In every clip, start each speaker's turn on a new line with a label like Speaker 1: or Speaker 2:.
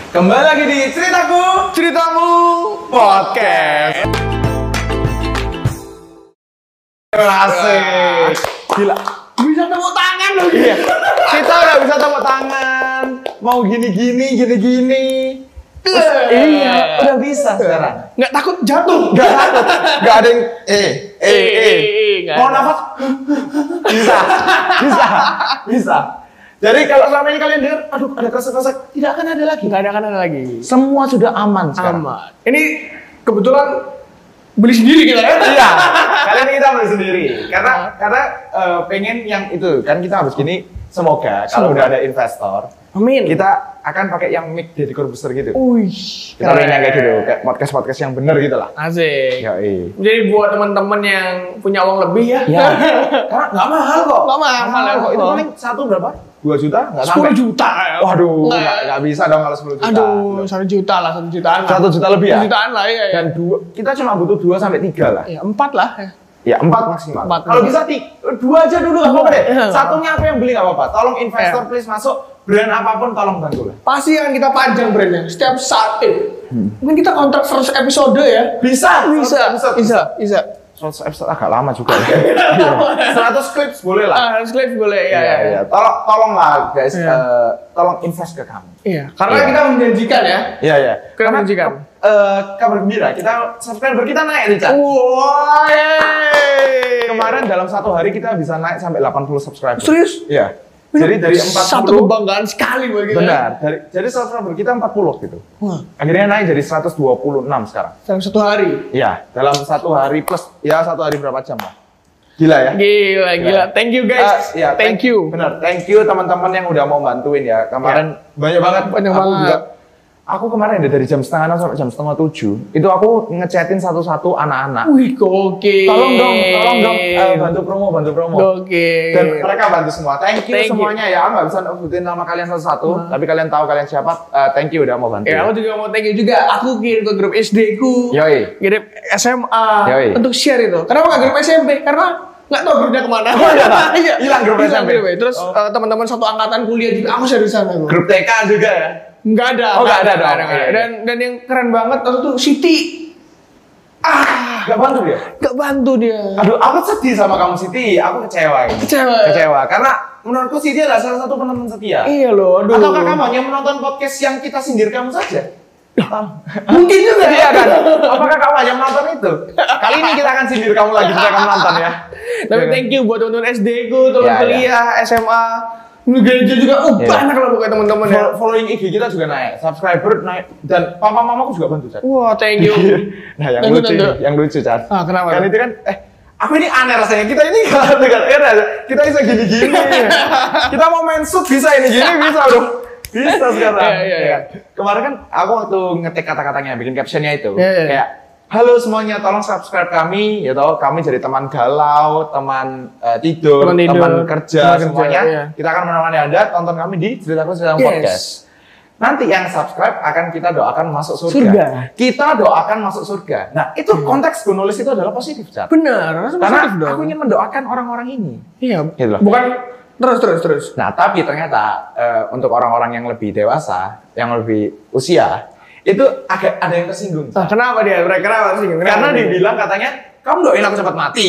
Speaker 1: Kembali lagi di ceritaku
Speaker 2: Ceritamu
Speaker 1: podcast. Asik.
Speaker 2: Gila Bisa tepuk tangan loh gila Kita udah bisa tepuk tangan Mau gini-gini, gini-gini
Speaker 1: Iya, udah bisa sekarang.
Speaker 2: Nggak takut jatuh Nggak takut Nggak ada yang Eh Eh Eh Mau nafas Bisa Bisa Bisa Jadi kalau selama ini kalian dengar Aduh ada kresek-kresek Tidak akan eh, ada lagi
Speaker 3: Gak ada kanan lagi.
Speaker 2: Semua sudah aman sekarang
Speaker 3: Aman. Ini kebetulan beli sendiri kita ya.
Speaker 2: Iya, kalian kita beli sendiri. Karena
Speaker 3: Ah.
Speaker 2: karena eh, pengen yang itu kan kita habis gini semoga kalau
Speaker 3: Semoga.
Speaker 2: udah ada investor
Speaker 3: Amin.
Speaker 2: kita akan pakai yang mic dari Corbusier gitu.
Speaker 3: Wih.
Speaker 2: kita pengen yang kayak gitu,
Speaker 3: keren.
Speaker 2: kayak podcast podcast yang bener gitu lah.
Speaker 3: Asik.
Speaker 2: Ya, iya.
Speaker 3: Jadi buat teman-teman yang punya uang lebih ya.
Speaker 2: Ya. karena nggak mahal kok.
Speaker 3: Nggak mahal,
Speaker 2: kok. Itu
Speaker 3: oh.
Speaker 2: paling satu berapa? Dua juta? Nggak sampai.
Speaker 3: 10 juta. ya.
Speaker 2: Waduh,
Speaker 3: Nggak.
Speaker 2: nggak nggak bisa dong kalau sepuluh juta.
Speaker 3: Aduh, satu juta lah, satu jutaan. lah.
Speaker 2: Satu juta lebih ya?
Speaker 3: Satu jutaan lah, iya. iya.
Speaker 2: Dan dua, kita cuma butuh dua sampai tiga lah.
Speaker 3: Ya, empat lah. ya.
Speaker 2: Ya empat maksimal.
Speaker 3: Empat.
Speaker 2: Kalau bisa ti- dua aja dulu nggak apa-apa deh.
Speaker 3: Iya.
Speaker 2: Satunya aku yang beli nggak apa-apa. Tolong investor
Speaker 3: Iya.
Speaker 2: please masuk brand apapun tolong bantu lah.
Speaker 3: Pasti akan kita panjang brandnya. Setiap saat ini. Mungkin kita kontrak 100 episode ya.
Speaker 2: Hmm. Bisa,
Speaker 3: Bisa, bisa, bisa. bisa.
Speaker 2: 100 episode agak lama juga. Iya. 100 clips boleh lah.
Speaker 3: Ah, harus live boleh,
Speaker 2: Iya,
Speaker 3: ya, ya, ya.
Speaker 2: Tolong, tolonglah guys,
Speaker 3: Iya.
Speaker 2: eh, tolong invest ke kami.
Speaker 3: Iya, karena
Speaker 2: Iya.
Speaker 3: kita menjanjikan ya.
Speaker 2: Iya iya.
Speaker 3: Keren
Speaker 2: Karena,
Speaker 3: menjanjikan.
Speaker 2: eh, kabar gembira, kita subscriber kita naik nih, Cak.
Speaker 3: Wow,
Speaker 2: Kemarin dalam satu hari kita bisa naik sampai 80 subscriber.
Speaker 3: Serius?
Speaker 2: Iya. Jadi dari 40
Speaker 3: satu kebanggaan sekali buat kita.
Speaker 2: Benar. Dari, jadi subscriber kita 40 gitu.
Speaker 3: Wah,
Speaker 2: Akhirnya naik jadi 126 sekarang.
Speaker 3: dalam satu hari.
Speaker 2: Iya, dalam satu hari plus ya satu hari berapa jam lah. Gila ya.
Speaker 3: Gila, gila. Thank you guys.
Speaker 2: Ah, iya,
Speaker 3: thank, you. Iya.
Speaker 2: Benar, thank you teman-teman yang udah mau bantuin ya. Kemarin banyak banget
Speaker 3: Banyak
Speaker 2: aku
Speaker 3: banget.
Speaker 2: juga- aku kemarin ada dari jam setengah enam sampai jam setengah tujuh itu aku ngechatin satu-satu anak-anak.
Speaker 3: Wih, oke.
Speaker 2: Tolong dong, tolong dong eh, bantu promo, bantu promo.
Speaker 3: Oke.
Speaker 2: Dan mereka bantu semua. Thank you
Speaker 3: Thank you.
Speaker 2: semuanya ya. Aku nggak bisa nyebutin nama kalian satu-satu, tapi kalian tahu kalian siapa. Eh, thank you udah mau bantu.
Speaker 3: Ya, aku juga mau thank you juga. Aku kirim ke grup SD ku.
Speaker 2: Yoi.
Speaker 3: Kirim SMA
Speaker 2: Ya. Yoi.
Speaker 3: untuk share itu. Kenapa nggak grup SMP? Karena nggak tahu grupnya kemana.
Speaker 2: Oh, iya, Pak. Hilang grup SMP.
Speaker 3: Terus eh, teman-teman satu angkatan kuliah juga aku share di sana.
Speaker 2: Oh.
Speaker 3: gua.
Speaker 2: Grup TK juga ya.
Speaker 3: Nggak ada.
Speaker 2: Oh, nggak ada
Speaker 3: nggak
Speaker 2: dong.
Speaker 3: nggak
Speaker 2: Iya, iya.
Speaker 3: Dan dan yang keren banget waktu itu Siti
Speaker 2: Gak bantu dia.
Speaker 3: nggak bantu dia.
Speaker 2: Aduh, aku sedih sama kamu Siti. Aku kecewa ini.
Speaker 3: Kecewa.
Speaker 2: Kecewa karena menurutku Siti adalah salah satu penonton setia.
Speaker 3: Iya loh, aduh.
Speaker 2: Atau kakak hanya menonton podcast yang kita sindir kamu saja?
Speaker 3: Mungkin juga
Speaker 2: Iya kan? Apakah kamu hanya menonton itu? Kali ini kita akan sindir kamu lagi kita akan menonton ya.
Speaker 3: Tapi thank you buat teman-teman SD ku, teman
Speaker 2: Iya, iya.
Speaker 3: kuliah, SMA, gereja juga. Oh,
Speaker 2: Iya.
Speaker 3: banyak lah pokoknya teman-teman ya.
Speaker 2: Fol- Following IG kita juga naik, subscriber naik, dan papa mamaku juga bantu Chan.
Speaker 3: Wah, thank you.
Speaker 2: nah yang
Speaker 3: Thank you,
Speaker 2: lucu,
Speaker 3: thank you.
Speaker 2: nih, yang lucu Chan.
Speaker 3: Iya. Ah, kenapa?
Speaker 2: Kan itu kan, eh aku ini aneh rasanya kita ini kalau dengar era kita bisa gini-gini. kita mau main sub bisa ini gini bisa aduh. Bisa sekarang.
Speaker 3: Iya, iya, iya.
Speaker 2: Kemarin kan aku waktu ngetik kata-katanya bikin captionnya itu
Speaker 3: Iya, iya.
Speaker 2: kayak Halo semuanya, tolong subscribe kami. Ya toh, kami jadi teman galau, teman eh, tidur,
Speaker 3: Teman
Speaker 2: teman,
Speaker 3: tidur,
Speaker 2: kerja,
Speaker 3: teman kerja,
Speaker 2: semuanya.
Speaker 3: iya.
Speaker 2: Kita akan menemani Anda tonton kami di Ceritaku Ceritamu
Speaker 3: Yes.
Speaker 2: Podcast. Nanti yang subscribe akan kita doakan masuk surga.
Speaker 3: Surga.
Speaker 2: Kita doakan masuk surga. Nah, itu konteks gue nulis itu adalah positif, Cat.
Speaker 3: Benar, harus
Speaker 2: Karena
Speaker 3: positif dong.
Speaker 2: aku ingin mendoakan orang-orang ini.
Speaker 3: Iya.
Speaker 2: Gitu loh.
Speaker 3: Bukan terus terus terus.
Speaker 2: Nah, tapi ternyata eh, untuk orang-orang yang lebih dewasa, yang lebih usia, itu agak ada yang tersinggung.
Speaker 3: Ah, kenapa dia? Mereka kenapa sih? Kenapa
Speaker 2: Karena
Speaker 3: dia?
Speaker 2: dibilang katanya, kamu doain aku cepat mati.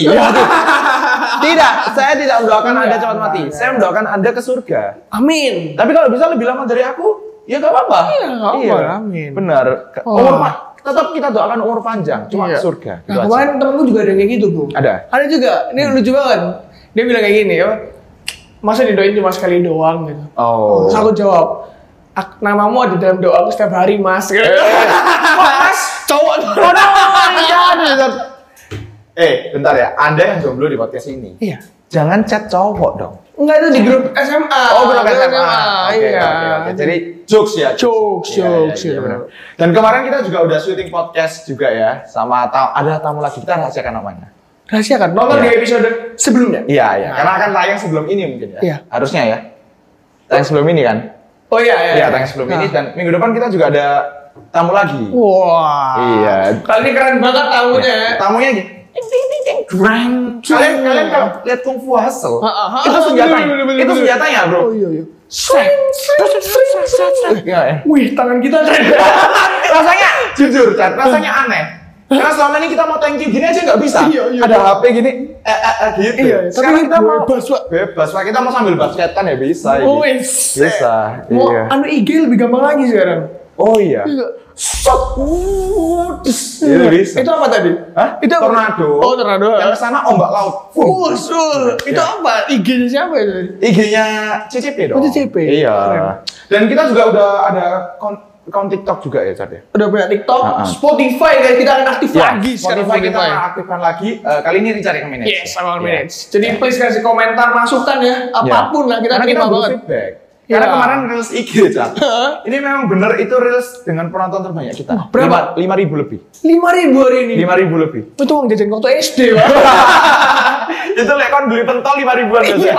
Speaker 2: tidak, saya tidak mendoakan Anda
Speaker 3: Iya,
Speaker 2: cepat mati.
Speaker 3: iya.
Speaker 2: Saya mendoakan Anda ke surga.
Speaker 3: Amin.
Speaker 2: Tapi kalau bisa lebih lama dari aku, ya gak apa-apa.
Speaker 3: Iya, gak apa-apa, amin.
Speaker 2: Benar. Ke-
Speaker 3: Oh.
Speaker 2: Umur pa- tetap kita doakan umur panjang, cuma
Speaker 3: Iya.
Speaker 2: ke surga.
Speaker 3: Nah,
Speaker 2: Gitu aja.
Speaker 3: kemarin temenku juga ada yang kayak gitu, Bu.
Speaker 2: Ada?
Speaker 3: Ada Hmm. juga. Ini lucu banget. Dia bilang kayak gini, apa? Masa didoain cuma sekali doang gitu.
Speaker 2: Oh.
Speaker 3: Terus aku jawab, "Ak- namamu ada dalam doaku setiap hari, Mas. Gitu. mas, cowok. iya,
Speaker 2: Eh, bentar ya. Anda yang jomblo di podcast ini.
Speaker 3: iya.
Speaker 2: Jangan chat cowok dong.
Speaker 3: Enggak itu di grup SMA.
Speaker 2: Oh, benar SMA. Oke,
Speaker 3: Ah, iya.
Speaker 2: oke, oke. Jadi jokes ya.
Speaker 3: Jokes,
Speaker 2: Iya, iya,
Speaker 3: jokes,
Speaker 2: iya,
Speaker 3: iya.
Speaker 2: benar. Dan kemarin kita juga udah syuting podcast juga ya sama ta- ada tamu lagi kita rahasiakan namanya.
Speaker 3: rahasia kan? Nonton
Speaker 2: Iya.
Speaker 3: di episode sebelumnya.
Speaker 2: Iya, iya. Karena akan tayang sebelum ini mungkin ya.
Speaker 3: Nah. Iya.
Speaker 2: Harusnya ya. Tayang sebelum ini kan?
Speaker 3: Oh iya, iya.
Speaker 2: Iya, tayang sebelum ini dan minggu depan kita juga ada tamu lagi.
Speaker 3: Wah.
Speaker 2: Iya.
Speaker 3: Kali ini keren banget tamunya. ya.
Speaker 2: Tamunya gini. Kalian kalian kalau lihat Kung Fu Hustle,
Speaker 3: Ha, ha, ha,
Speaker 2: itu
Speaker 3: ha,
Speaker 2: senjata,
Speaker 3: bener, bener, bener,
Speaker 2: itu
Speaker 3: bener.
Speaker 2: senjatanya bro.
Speaker 3: Oh iya, iya. Set. Set, set, set, set, set.
Speaker 2: Iya,
Speaker 3: Wih, tangan kita ada.
Speaker 2: rasanya jujur Chan, rasanya aneh karena selama ini kita mau tanking gini aja nggak bisa
Speaker 3: Iya, iya.
Speaker 2: ada HP gini eh, eh, eh, gitu
Speaker 3: Iya, iya.
Speaker 2: sekarang
Speaker 3: Tapi
Speaker 2: kita mau
Speaker 3: bebas, Pak.
Speaker 2: bebas Pak. kita mau sambil basketan ya bisa
Speaker 3: Oh,
Speaker 2: gitu.
Speaker 3: set.
Speaker 2: bisa
Speaker 3: Mau
Speaker 2: iya
Speaker 3: anu IG lebih gampang lagi sekarang.
Speaker 2: oh iya
Speaker 3: Sok. wuh, des.
Speaker 2: Itu bisa.
Speaker 3: Itu apa tadi?
Speaker 2: Hah?
Speaker 3: Itu apa?
Speaker 2: tornado
Speaker 3: Oh, tornado.
Speaker 2: yang kesana ombak laut
Speaker 3: Wuh, sul. Oh, Itu
Speaker 2: Ya.
Speaker 3: apa? IG-nya siapa itu?
Speaker 2: IG-nya CCP dong
Speaker 3: Oh, CCP.
Speaker 2: iya
Speaker 3: Keren.
Speaker 2: dan kita juga udah ada account, account TikTok juga ya Chan ya
Speaker 3: Udah punya TikTok,
Speaker 2: Ah, ah.
Speaker 3: Spotify guys, kita akan aktif lagi sekarang
Speaker 2: Spotify kita
Speaker 3: Spotify.
Speaker 2: akan aktifkan lagi Eh, kali ini Richard yang manage
Speaker 3: Yes,
Speaker 2: Iya.
Speaker 3: awal minutes. Jadi please kasih komentar, masukan ya, apapun lah
Speaker 2: Karena
Speaker 3: kita terima
Speaker 2: kita butuh
Speaker 3: banget.
Speaker 2: feedback. Karena
Speaker 3: Iya.
Speaker 2: kemarin reels IG, Cak. Ini memang bener itu reels dengan penonton terbanyak kita.
Speaker 3: berapa?
Speaker 2: Lima- Lima ribu lebih.
Speaker 3: Lima ribu hari ini.
Speaker 2: Lima Iya, ribu lebih.
Speaker 3: Itu uang jajan waktu SD, Pak.
Speaker 2: itu lek kon beli pentol lima ribuan
Speaker 3: Iya.
Speaker 2: biasanya.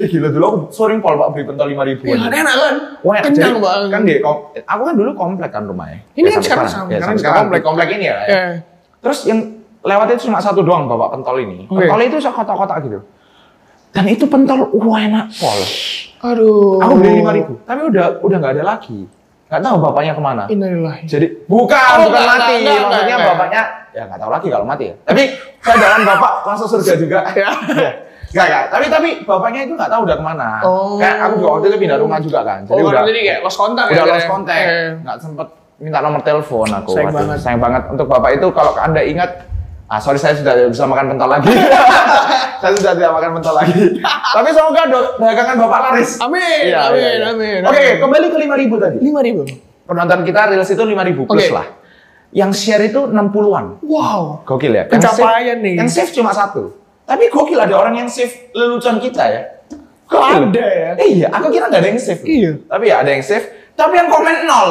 Speaker 2: Ih, Gila dulu aku sering pol pak beli pentol lima
Speaker 3: Iya,
Speaker 2: ribuan.
Speaker 3: kan enak kan?
Speaker 2: Wah,
Speaker 3: Kenyang
Speaker 2: jadi,
Speaker 3: banget.
Speaker 2: Kan di kom- aku kan dulu komplek kan rumahnya.
Speaker 3: Ini kan
Speaker 2: sampai
Speaker 3: sekarang sama,
Speaker 2: Ya,
Speaker 3: sekarang
Speaker 2: sampai sekarang
Speaker 3: sekarang.
Speaker 2: komplek komplek ini ya. Lek.
Speaker 3: Eh,
Speaker 2: Terus yang lewat itu cuma satu doang bapak pentol ini.
Speaker 3: Oke.
Speaker 2: Pentol itu sok kotak-kotak gitu. Dan itu pentol wah enak pol.
Speaker 3: aduh.
Speaker 2: Aku beli lima ribu, tapi udah udah nggak ada lagi. Nggak tahu bapaknya kemana.
Speaker 3: Innalillahi.
Speaker 2: Jadi bukan
Speaker 3: Oh,
Speaker 2: bukan
Speaker 3: nggak,
Speaker 2: mati,
Speaker 3: nggak, nggak,
Speaker 2: maksudnya
Speaker 3: nggak.
Speaker 2: bapaknya ya nggak tahu lagi kalau mati ya. Tapi keadaan bapak masuk surga juga.
Speaker 3: Ya.
Speaker 2: Iya. Nggak nggak. Tapi tapi bapaknya itu nggak tahu udah kemana.
Speaker 3: Oh.
Speaker 2: Kayak aku juga waktu itu pindah rumah juga kan. Jadi
Speaker 3: oh,
Speaker 2: udah
Speaker 3: karena jadi kayak lost kontak
Speaker 2: udah
Speaker 3: ya.
Speaker 2: lost
Speaker 3: kayaknya.
Speaker 2: kontak,
Speaker 3: Eh,
Speaker 2: nggak sempet minta nomor telepon aku.
Speaker 3: Sayang
Speaker 2: Waduh,
Speaker 3: banget.
Speaker 2: Sayang banget. Untuk bapak itu kalau anda ingat, ah sorry saya sudah tidak bisa makan pentol lagi. saya sudah tidak makan pentol lagi. Tapi semoga do- dagangan bapak laris.
Speaker 3: Amin,
Speaker 2: Iya,
Speaker 3: amin,
Speaker 2: iya, iya.
Speaker 3: amin,
Speaker 2: Oke,
Speaker 3: amin.
Speaker 2: kembali ke 5000 tadi.
Speaker 3: Lima ribu.
Speaker 2: Penonton kita reels itu 5000 plus
Speaker 3: Oke.
Speaker 2: lah. Yang share itu 60-an.
Speaker 3: Wow.
Speaker 2: Gokil ya. Yang
Speaker 3: Pencapaian
Speaker 2: save-
Speaker 3: nih.
Speaker 2: Yang save cuma satu. Tapi gokil ada orang yang save lelucon kita ya.
Speaker 3: Ada ya?
Speaker 2: Iya, aku kira nggak ada yang save.
Speaker 3: Iya.
Speaker 2: Tapi ya ada yang save. Tapi yang komen nol.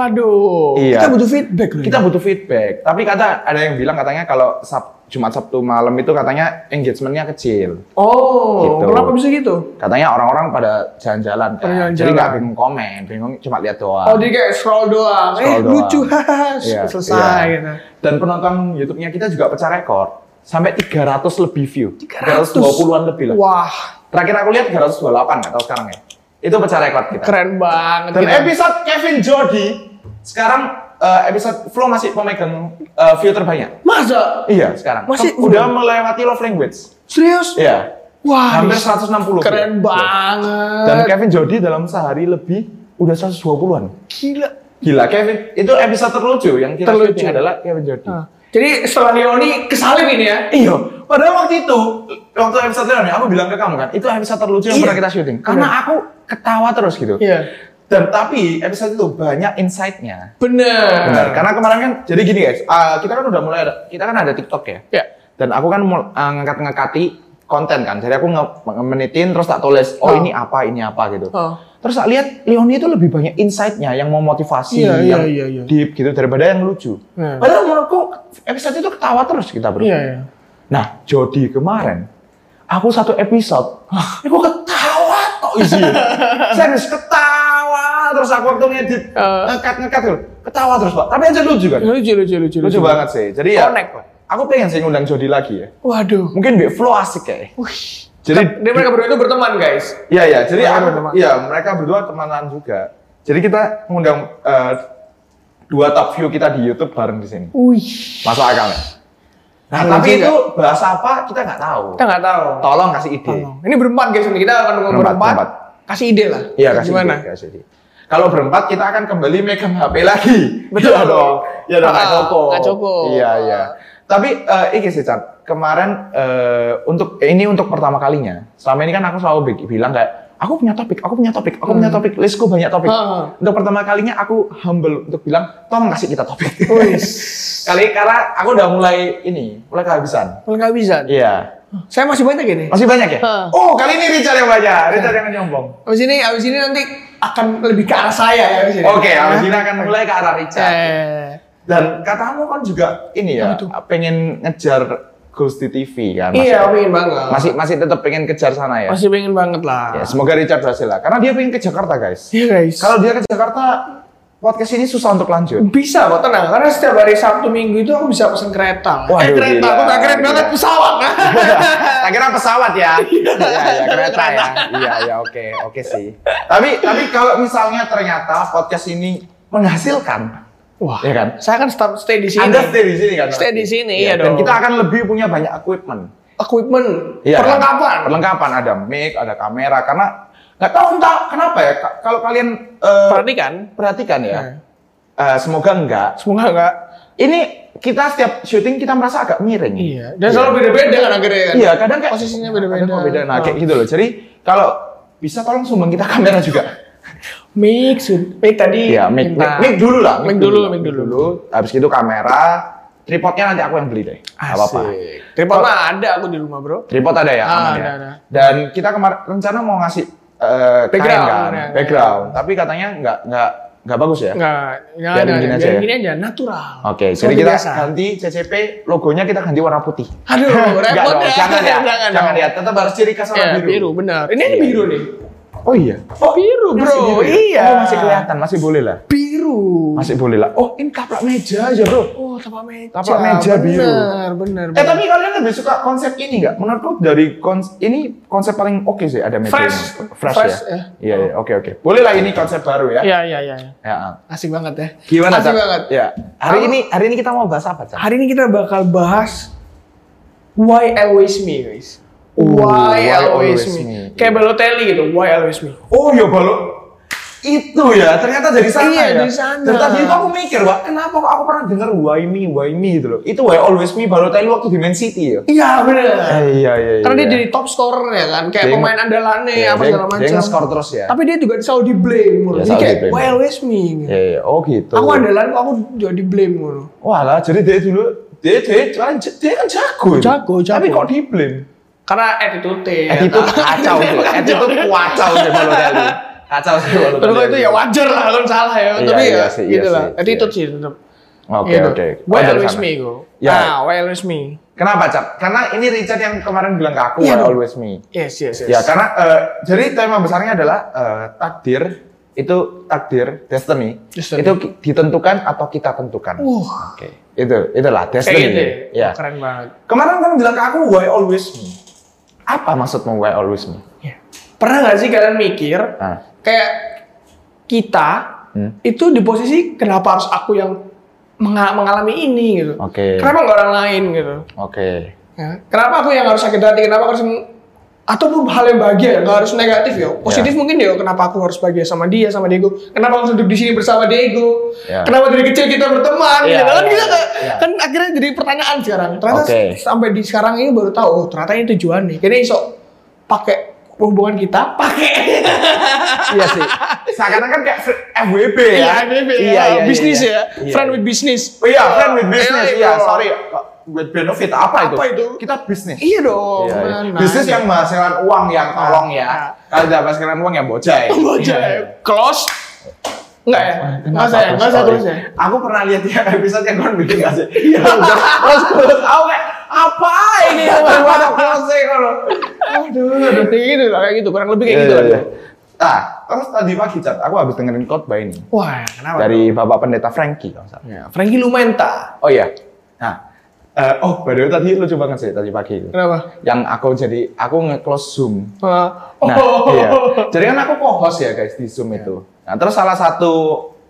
Speaker 3: Waduh.
Speaker 2: Iya.
Speaker 3: Kita butuh feedback loh.
Speaker 2: Kita butuh feedback. Tapi kata ada yang bilang katanya kalau Sab- Jumat Sabtu malam itu katanya engagementnya kecil.
Speaker 3: Oh,
Speaker 2: Gitu.
Speaker 3: kenapa bisa gitu?
Speaker 2: Katanya orang-orang pada jalan-jalan
Speaker 3: Pada
Speaker 2: kan. Jadi
Speaker 3: jalan-jalan.
Speaker 2: nggak bingung komen, bingung cuma lihat doang.
Speaker 3: Oh, jadi kayak scroll doang. eh,
Speaker 2: Scroll doang.
Speaker 3: lucu, hahaha.
Speaker 2: Iya,
Speaker 3: Selesai
Speaker 2: iya.
Speaker 3: gitu.
Speaker 2: Dan penonton YouTube-nya kita juga pecah rekor. Sampai 300 lebih view.
Speaker 3: 300.
Speaker 2: 320-an lebih lah.
Speaker 3: Wah,
Speaker 2: Terakhir aku lihat 328 nggak tahu sekarang ya. Itu pecah rekor kita.
Speaker 3: keren banget.
Speaker 2: Dan
Speaker 3: gitu.
Speaker 2: episode Kevin Jody sekarang eh, episode Flow masih pemegang eh, view terbanyak.
Speaker 3: Masa?
Speaker 2: Iya, sekarang.
Speaker 3: Masih-
Speaker 2: Tem- udah melewati love language.
Speaker 3: Serius?
Speaker 2: Iya.
Speaker 3: Wah,
Speaker 2: Hampir
Speaker 3: dis-
Speaker 2: 160.
Speaker 3: Keren
Speaker 2: view.
Speaker 3: banget.
Speaker 2: Dan Kevin Jody dalam sehari lebih udah 120-an.
Speaker 3: gila.
Speaker 2: Gila Kevin, itu episode terlucu yang kita
Speaker 3: Terlucu.
Speaker 2: syuting adalah Kevin Jody.
Speaker 3: Nah, Jadi setelah Leoni kesalip ini ya.
Speaker 2: Iya, padahal waktu itu, waktu episode Leon aku bilang ke kamu kan, itu episode terlucu yang
Speaker 3: Iya.
Speaker 2: pernah kita syuting. Karena aku ketawa terus gitu.
Speaker 3: Iya.
Speaker 2: Dan tapi episode itu banyak insight-nya.
Speaker 3: Bener.
Speaker 2: Benar. Karena kemarin kan, jadi gini guys, uh, kita kan udah mulai, ada, kita kan ada TikTok ya.
Speaker 3: Ya.
Speaker 2: Dan aku kan mul- uh, ngangkat-ngangkati konten kan, jadi aku nge- menitin terus tak tulis, oh
Speaker 3: Oh.
Speaker 2: ini apa, ini apa gitu.
Speaker 3: Oh.
Speaker 2: Terus tak lihat Leoni itu lebih banyak insight-nya yang memotivasi,
Speaker 3: Iya, iya,
Speaker 2: yang
Speaker 3: iya, iya.
Speaker 2: deep gitu daripada yang lucu.
Speaker 3: Iya.
Speaker 2: Padahal menurutku episode itu ketawa terus kita bro.
Speaker 3: Iya, iya.
Speaker 2: Nah, Jody kemarin, aku satu episode, aku ketawa kok isinya. Serius ketawa terus aku waktu ngedit,
Speaker 3: Eh.
Speaker 2: ngekat ngekat gitu. Ketawa terus pak. Tapi aja lucu kan?
Speaker 3: Lucu, lucu, lucu.
Speaker 2: Lucu banget sih. Jadi ya,
Speaker 3: Connect, Pak.
Speaker 2: aku pengen sih ngundang Jody lagi ya.
Speaker 3: Waduh.
Speaker 2: Mungkin Big Flow asik kayaknya.
Speaker 3: Wih.
Speaker 2: Jadi,
Speaker 3: Dia mereka berdua itu berteman guys.
Speaker 2: iya iya. Jadi
Speaker 3: Mereka
Speaker 2: aku-
Speaker 3: berteman.
Speaker 2: iya mereka berdua temanan juga. Jadi kita ngundang eh, dua top view kita di YouTube bareng di sini.
Speaker 3: Wih.
Speaker 2: Masuk akal ya? Nah,
Speaker 3: Iya
Speaker 2: tapi
Speaker 3: juga.
Speaker 2: itu bahasa apa kita nggak tahu.
Speaker 3: Kita nggak tahu.
Speaker 2: Tolong kasih ide.
Speaker 3: Tolong. Ini berempat guys, ini kita akan ngomong
Speaker 2: Berempat,
Speaker 3: berempat.
Speaker 2: berempat.
Speaker 3: Kasih ide lah.
Speaker 2: Iya kasih
Speaker 3: Gimana?
Speaker 2: ide, kasih ide. Kalau berempat kita akan kembali megang HP lagi.
Speaker 3: Betul.
Speaker 2: Iya dong. Iya dong. Nggak
Speaker 3: Ah,
Speaker 2: cukup.
Speaker 3: nggak cukup.
Speaker 2: Iya iya. Tapi eh ini sih Chan. Kemarin eh untuk eh, ini untuk pertama kalinya. Selama ini kan aku selalu bi- bilang kayak aku punya topik, aku punya topik, aku punya topik, listku banyak topik.
Speaker 3: Hmm. Ah.
Speaker 2: Untuk pertama kalinya aku humble untuk bilang, tolong kasih kita topik.
Speaker 3: Wih.
Speaker 2: Kali karena aku udah mulai ini, mulai kehabisan.
Speaker 3: Kalau nggak bisa.
Speaker 2: Iya.
Speaker 3: Saya masih banyak ini.
Speaker 2: Masih banyak ya?
Speaker 3: Ah.
Speaker 2: Oh, kali ini Richard yang banyak. Richard yang nyombong.
Speaker 3: Abis ini, abis ini nanti akan lebih ke arah saya ya abis ini.
Speaker 2: Oke, abis ini akan mulai ke arah Richard.
Speaker 3: Eh.
Speaker 2: Dan katamu kan juga ini ya,
Speaker 3: Apa tuh?
Speaker 2: pengen ngejar Ghost di TV kan? Masih,
Speaker 3: Iya, pengen banget.
Speaker 2: masih masih tetap pengen kejar sana ya.
Speaker 3: masih pengen banget lah.
Speaker 2: Ya, semoga Richard berhasil lah, karena dia pengen ke Jakarta guys.
Speaker 3: Iya guys.
Speaker 2: Kalau dia ke Jakarta, podcast ini susah untuk lanjut?
Speaker 3: Bisa kok tenang, karena setiap hari Sabtu Minggu itu aku bisa pesen kereta.
Speaker 2: Waduh, iya.
Speaker 3: eh kereta,
Speaker 2: gila,
Speaker 3: aku tak keren
Speaker 2: gila.
Speaker 3: banget pesawat.
Speaker 2: Akhirnya pesawat ya. Iya, iya, kereta ya. Iya, iya, oke, oke sih. Tapi tapi kalau misalnya ternyata podcast ini menghasilkan,
Speaker 3: Wah,
Speaker 2: ya kan?
Speaker 3: saya kan stop stay di sini.
Speaker 2: Anda stay di sini kan?
Speaker 3: Stay di sini,
Speaker 2: Iya,
Speaker 3: iya
Speaker 2: dan
Speaker 3: dong.
Speaker 2: kita akan lebih punya banyak equipment.
Speaker 3: Equipment,
Speaker 2: Iya, kan?
Speaker 3: perlengkapan.
Speaker 2: Perlengkapan ada mic, ada kamera karena nggak tahu entah kenapa ya ka- kalau kalian eh,
Speaker 3: Perhatikan,
Speaker 2: perhatikan ya.
Speaker 3: Hmm.
Speaker 2: Eh, semoga enggak.
Speaker 3: semoga enggak.
Speaker 2: Ini kita setiap syuting kita merasa agak miring.
Speaker 3: Iya, dan selalu beda-beda kan akhirnya kan.
Speaker 2: Iya, kadang kayak
Speaker 3: Posisinya beda-beda.
Speaker 2: kadang kok beda. Nah,
Speaker 3: Ah.
Speaker 2: kayak gitu loh. Jadi kalau bisa tolong sumbang kita kamera juga.
Speaker 3: Mix, mix tadi.
Speaker 2: Iya, mic, mic,
Speaker 3: minta.
Speaker 2: mic dulu lah.
Speaker 3: Mic dulu, mic dulu.
Speaker 2: Habis itu kamera, tripodnya nanti aku yang beli deh. Nggak apa-apa.
Speaker 3: Asik. Tripod mah ada aku di rumah bro.
Speaker 2: Tripod ada ya,
Speaker 3: Ah,
Speaker 2: aman ya.
Speaker 3: ada, ada.
Speaker 2: Dan kita kemarin rencana mau ngasih eh, kain
Speaker 3: Background,
Speaker 2: kan,
Speaker 3: ya, ya.
Speaker 2: background. Tapi katanya nggak nggak nggak bagus ya.
Speaker 3: Enggak, enggak
Speaker 2: Biarin
Speaker 3: ada.
Speaker 2: gini aja
Speaker 3: Biarin
Speaker 2: ya?
Speaker 3: gini aja, natural.
Speaker 2: Oke, jadi
Speaker 3: Seperti
Speaker 2: kita
Speaker 3: biasa.
Speaker 2: ganti CCP logonya kita ganti warna putih.
Speaker 3: Aduh,
Speaker 2: Nggak
Speaker 3: repot
Speaker 2: dong,
Speaker 3: ya.
Speaker 2: jangan ya,
Speaker 3: Jangan,
Speaker 2: jangan
Speaker 3: dong.
Speaker 2: ya. Tetap harus ciri khas
Speaker 3: Iya,
Speaker 2: warna
Speaker 3: biru. benar. Ini ada
Speaker 2: Iya,
Speaker 3: biru nih.
Speaker 2: Oh iya.
Speaker 3: Oh, biru, bro.
Speaker 2: Masih biru ya?
Speaker 3: Iya.
Speaker 2: Oh, masih kelihatan, masih boleh lah.
Speaker 3: Biru.
Speaker 2: Masih boleh lah. Oh, ini taplak meja aja, Bro.
Speaker 3: Oh, tapak meja.
Speaker 2: Tapak meja biru.
Speaker 3: Benar, benar.
Speaker 2: Eh tapi kalian lebih suka konsep ini nggak? Menurutku dari kons ini konsep paling oke sih ada media
Speaker 3: Fresh.
Speaker 2: ini. fresh,
Speaker 3: Fresh,
Speaker 2: ya.
Speaker 3: ya.
Speaker 2: Iya iya oke oke. Boleh lah ini konsep baru ya.
Speaker 3: Iya, iya, iya.
Speaker 2: Ya.
Speaker 3: Asik banget ya.
Speaker 2: Gimana
Speaker 3: Asik
Speaker 2: Cak?
Speaker 3: banget.
Speaker 2: Ya. Hari
Speaker 3: Aku-
Speaker 2: ini hari ini kita mau bahas apa Cak?
Speaker 3: Hari ini kita bakal bahas Why Always Me, guys.
Speaker 2: Oh,
Speaker 3: why,
Speaker 2: why
Speaker 3: always,
Speaker 2: always me.
Speaker 3: me. Kayak Balotelli gitu, why always me.
Speaker 2: Oh ya balok itu ya ternyata dari sana
Speaker 3: Iya,
Speaker 2: ya.
Speaker 3: dari sana.
Speaker 2: Ternyata jadi aku mikir wah kenapa kok aku pernah dengar why me why me gitu loh. Itu why always me Balotelli waktu di Man City ya.
Speaker 3: Iya, benar.
Speaker 2: Eh, iya iya.
Speaker 3: Karena dia
Speaker 2: iya.
Speaker 3: jadi top scorer ya kan, kayak
Speaker 2: Dia-
Speaker 3: pemain andalannya
Speaker 2: iya,
Speaker 3: apa
Speaker 2: dia-
Speaker 3: segala
Speaker 2: dia
Speaker 3: macam.
Speaker 2: nge-score terus ya.
Speaker 3: Tapi dia juga selalu di blame
Speaker 2: Iya,
Speaker 3: mulu. Jadi
Speaker 2: selalu
Speaker 3: kayak
Speaker 2: di-blame.
Speaker 3: why always me. gitu.
Speaker 2: Iya, iya. Oh gitu.
Speaker 3: Aku andalan kok aku juga di blame mulu.
Speaker 2: Wah lah, jadi dia dulu dia dia dia, dia kan jago. itu.
Speaker 3: Jago, jago.
Speaker 2: Tapi kok di-blame?
Speaker 3: Karena attitude ya.
Speaker 2: Attitude
Speaker 3: kan?
Speaker 2: kacau sih. Attitude kacau sih Balotelli. Kacau sih Balotelli.
Speaker 3: Terus itu ya wajar lah kalau salah ya.
Speaker 2: Iya,
Speaker 3: Tapi
Speaker 2: iya
Speaker 3: ya
Speaker 2: sih, iya
Speaker 3: gitu
Speaker 2: sih,
Speaker 3: lah.
Speaker 2: iya.
Speaker 3: Attitude sih tetap.
Speaker 2: Oke,
Speaker 3: Gitu.
Speaker 2: oke.
Speaker 3: Why
Speaker 2: Oh, dari
Speaker 3: always
Speaker 2: sana.
Speaker 3: me go.
Speaker 2: Ya.
Speaker 3: Ah, why always me.
Speaker 2: Kenapa, Cap? Karena ini Richard yang kemarin bilang ke aku,
Speaker 3: Iya,
Speaker 2: why
Speaker 3: dong.
Speaker 2: always me.
Speaker 3: Yes, yes, yes.
Speaker 2: Ya, karena eh, jadi tema besarnya adalah eh, takdir itu takdir destiny,
Speaker 3: Destiny.
Speaker 2: itu ki- ditentukan atau kita tentukan.
Speaker 3: Uh,
Speaker 2: kan. Oke. Itu itulah
Speaker 3: kayak
Speaker 2: destiny.
Speaker 3: gitu
Speaker 2: ya.
Speaker 3: ya. Keren banget. kan
Speaker 2: Kemarin kamu bilang ke aku why always me. Apa maksudmu why always me?
Speaker 3: Ya. Pernah nggak sih kalian mikir
Speaker 2: Ah.
Speaker 3: kayak kita
Speaker 2: Hmm.
Speaker 3: itu di posisi kenapa harus aku yang menga- mengalami ini gitu?
Speaker 2: Oke.
Speaker 3: Kenapa nggak orang lain gitu?
Speaker 2: Oke.
Speaker 3: Ya. Kenapa aku yang harus sakit hati? Kenapa aku harus ataupun hal yang bahagia nggak harus negatif ya positif mungkin ya kenapa aku harus bahagia sama dia sama Diego kenapa aku harus duduk di sini bersama Diego
Speaker 2: Ya.
Speaker 3: kenapa dari kecil kita berteman
Speaker 2: Ya,
Speaker 3: gitu kan
Speaker 2: ya,
Speaker 3: kita
Speaker 2: ya,
Speaker 3: nggak-
Speaker 2: ya.
Speaker 3: kan akhirnya jadi pertanyaan sekarang ternyata
Speaker 2: Oke.
Speaker 3: s- sampai di sekarang ini baru tahu oh, ternyata ini tujuan nih kayaknya iso pakai hubungan kita pakai
Speaker 2: iya sih. Seakan-akan kayak fr- FWB ya. iya,
Speaker 3: FWB, Iya, bisnis ya friend with business
Speaker 2: Oh iya, friend with business.
Speaker 3: Iya,
Speaker 2: Iya,
Speaker 3: iya.
Speaker 2: sorry. With benefit apa itu?
Speaker 3: Apa itu?
Speaker 2: Kita bisnis.
Speaker 3: iya dong
Speaker 2: Iya, iya.
Speaker 3: benar.
Speaker 2: Bisnis yang menghasilkan uang yang tolong ya.
Speaker 3: Ah.
Speaker 2: Kalau tidak menghasilkan uang ya Iya, bocah.
Speaker 3: Bocah, close Enggak ya? Enggak saya, enggak saya close ya.
Speaker 2: Aku pernah lihat yang episode yang kau bikin gak sih? Iya. Terus terus aku kayak apa ini? Gimana close kalau?
Speaker 3: Aduh, aduh. Kayak gitu lah, kayak gitu, kurang lebih kayak
Speaker 2: Kayak
Speaker 3: gitu lah.
Speaker 2: ya. Nah, terus tadi pagi cat, aku habis dengerin khotbah ini
Speaker 3: Wah, kenapa?
Speaker 2: dari Bapak Pendeta Frankie kalau nggak salah.
Speaker 3: Ya, Frankie Lumenta.
Speaker 2: Oh iya. Nah, eh, oh by the way tadi lucu banget sih tadi pagi itu.
Speaker 3: Kenapa?
Speaker 2: Yang aku jadi aku nge-close Zoom.
Speaker 3: Eh,
Speaker 2: Nah,
Speaker 3: oh.
Speaker 2: iya. Jadi kan aku co-host ya guys di Zoom itu. Nah, terus salah satu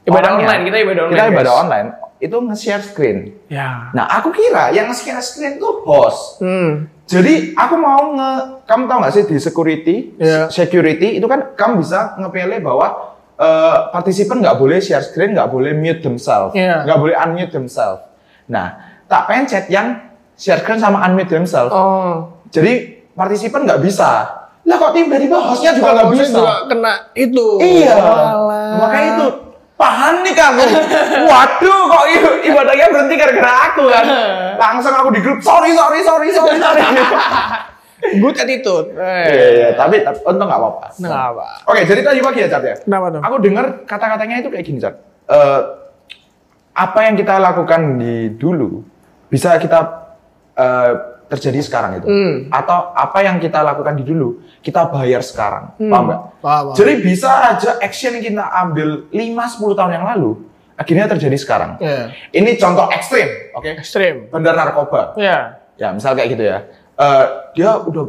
Speaker 3: Ibadah
Speaker 2: orangnya-
Speaker 3: online, kita ibadah online,
Speaker 2: Kita ibadah
Speaker 3: guys.
Speaker 2: online itu nge-share screen.
Speaker 3: Ya.
Speaker 2: Nah, aku kira yang nge-share screen tuh host.
Speaker 3: Hmm.
Speaker 2: Jadi aku mau nge kamu tahu nggak sih di security
Speaker 3: Iya.
Speaker 2: security itu kan kamu bisa ngepele bahwa eh, partisipan nggak boleh share screen, nggak boleh mute themselves,
Speaker 3: Iya.
Speaker 2: nggak boleh unmute themselves. Nah, tak pencet yang share screen sama unmute themselves.
Speaker 3: Oh.
Speaker 2: Jadi partisipan nggak bisa. Lah kok tiba-tiba hostnya juga nggak
Speaker 3: Maksudnya
Speaker 2: bisa?
Speaker 3: juga kena itu.
Speaker 2: Iya.
Speaker 3: Walah.
Speaker 2: Makanya itu panik aku. Waduh, kok i- ibadahnya berhenti gara-gara aku kan? Langsung aku di grup, sorry, sorry, sorry, sorry, sorry.
Speaker 3: good attitude. Eh.
Speaker 2: Iya, iya, tapi tapi untung nggak apa-apa.
Speaker 3: Nggak apa.
Speaker 2: Oke, jadi tadi pagi ya, Cat ya.
Speaker 3: Kenapa tuh?
Speaker 2: Aku dengar kata-katanya itu kayak gini, Cat. Eh, apa yang kita lakukan di dulu bisa kita eh, terjadi sekarang itu.
Speaker 3: Hmm.
Speaker 2: Atau apa yang kita lakukan di dulu, kita bayar sekarang. Paham
Speaker 3: Hmm.
Speaker 2: nggak?
Speaker 3: Paham, paham.
Speaker 2: Jadi bisa aja action yang kita ambil 5-10 tahun yang lalu, akhirnya terjadi sekarang.
Speaker 3: Iya.
Speaker 2: Ini contoh ekstrim, oke?
Speaker 3: ekstrim
Speaker 2: Bandar narkoba.
Speaker 3: ya
Speaker 2: Ya, misal kayak gitu ya. Eh, dia udah,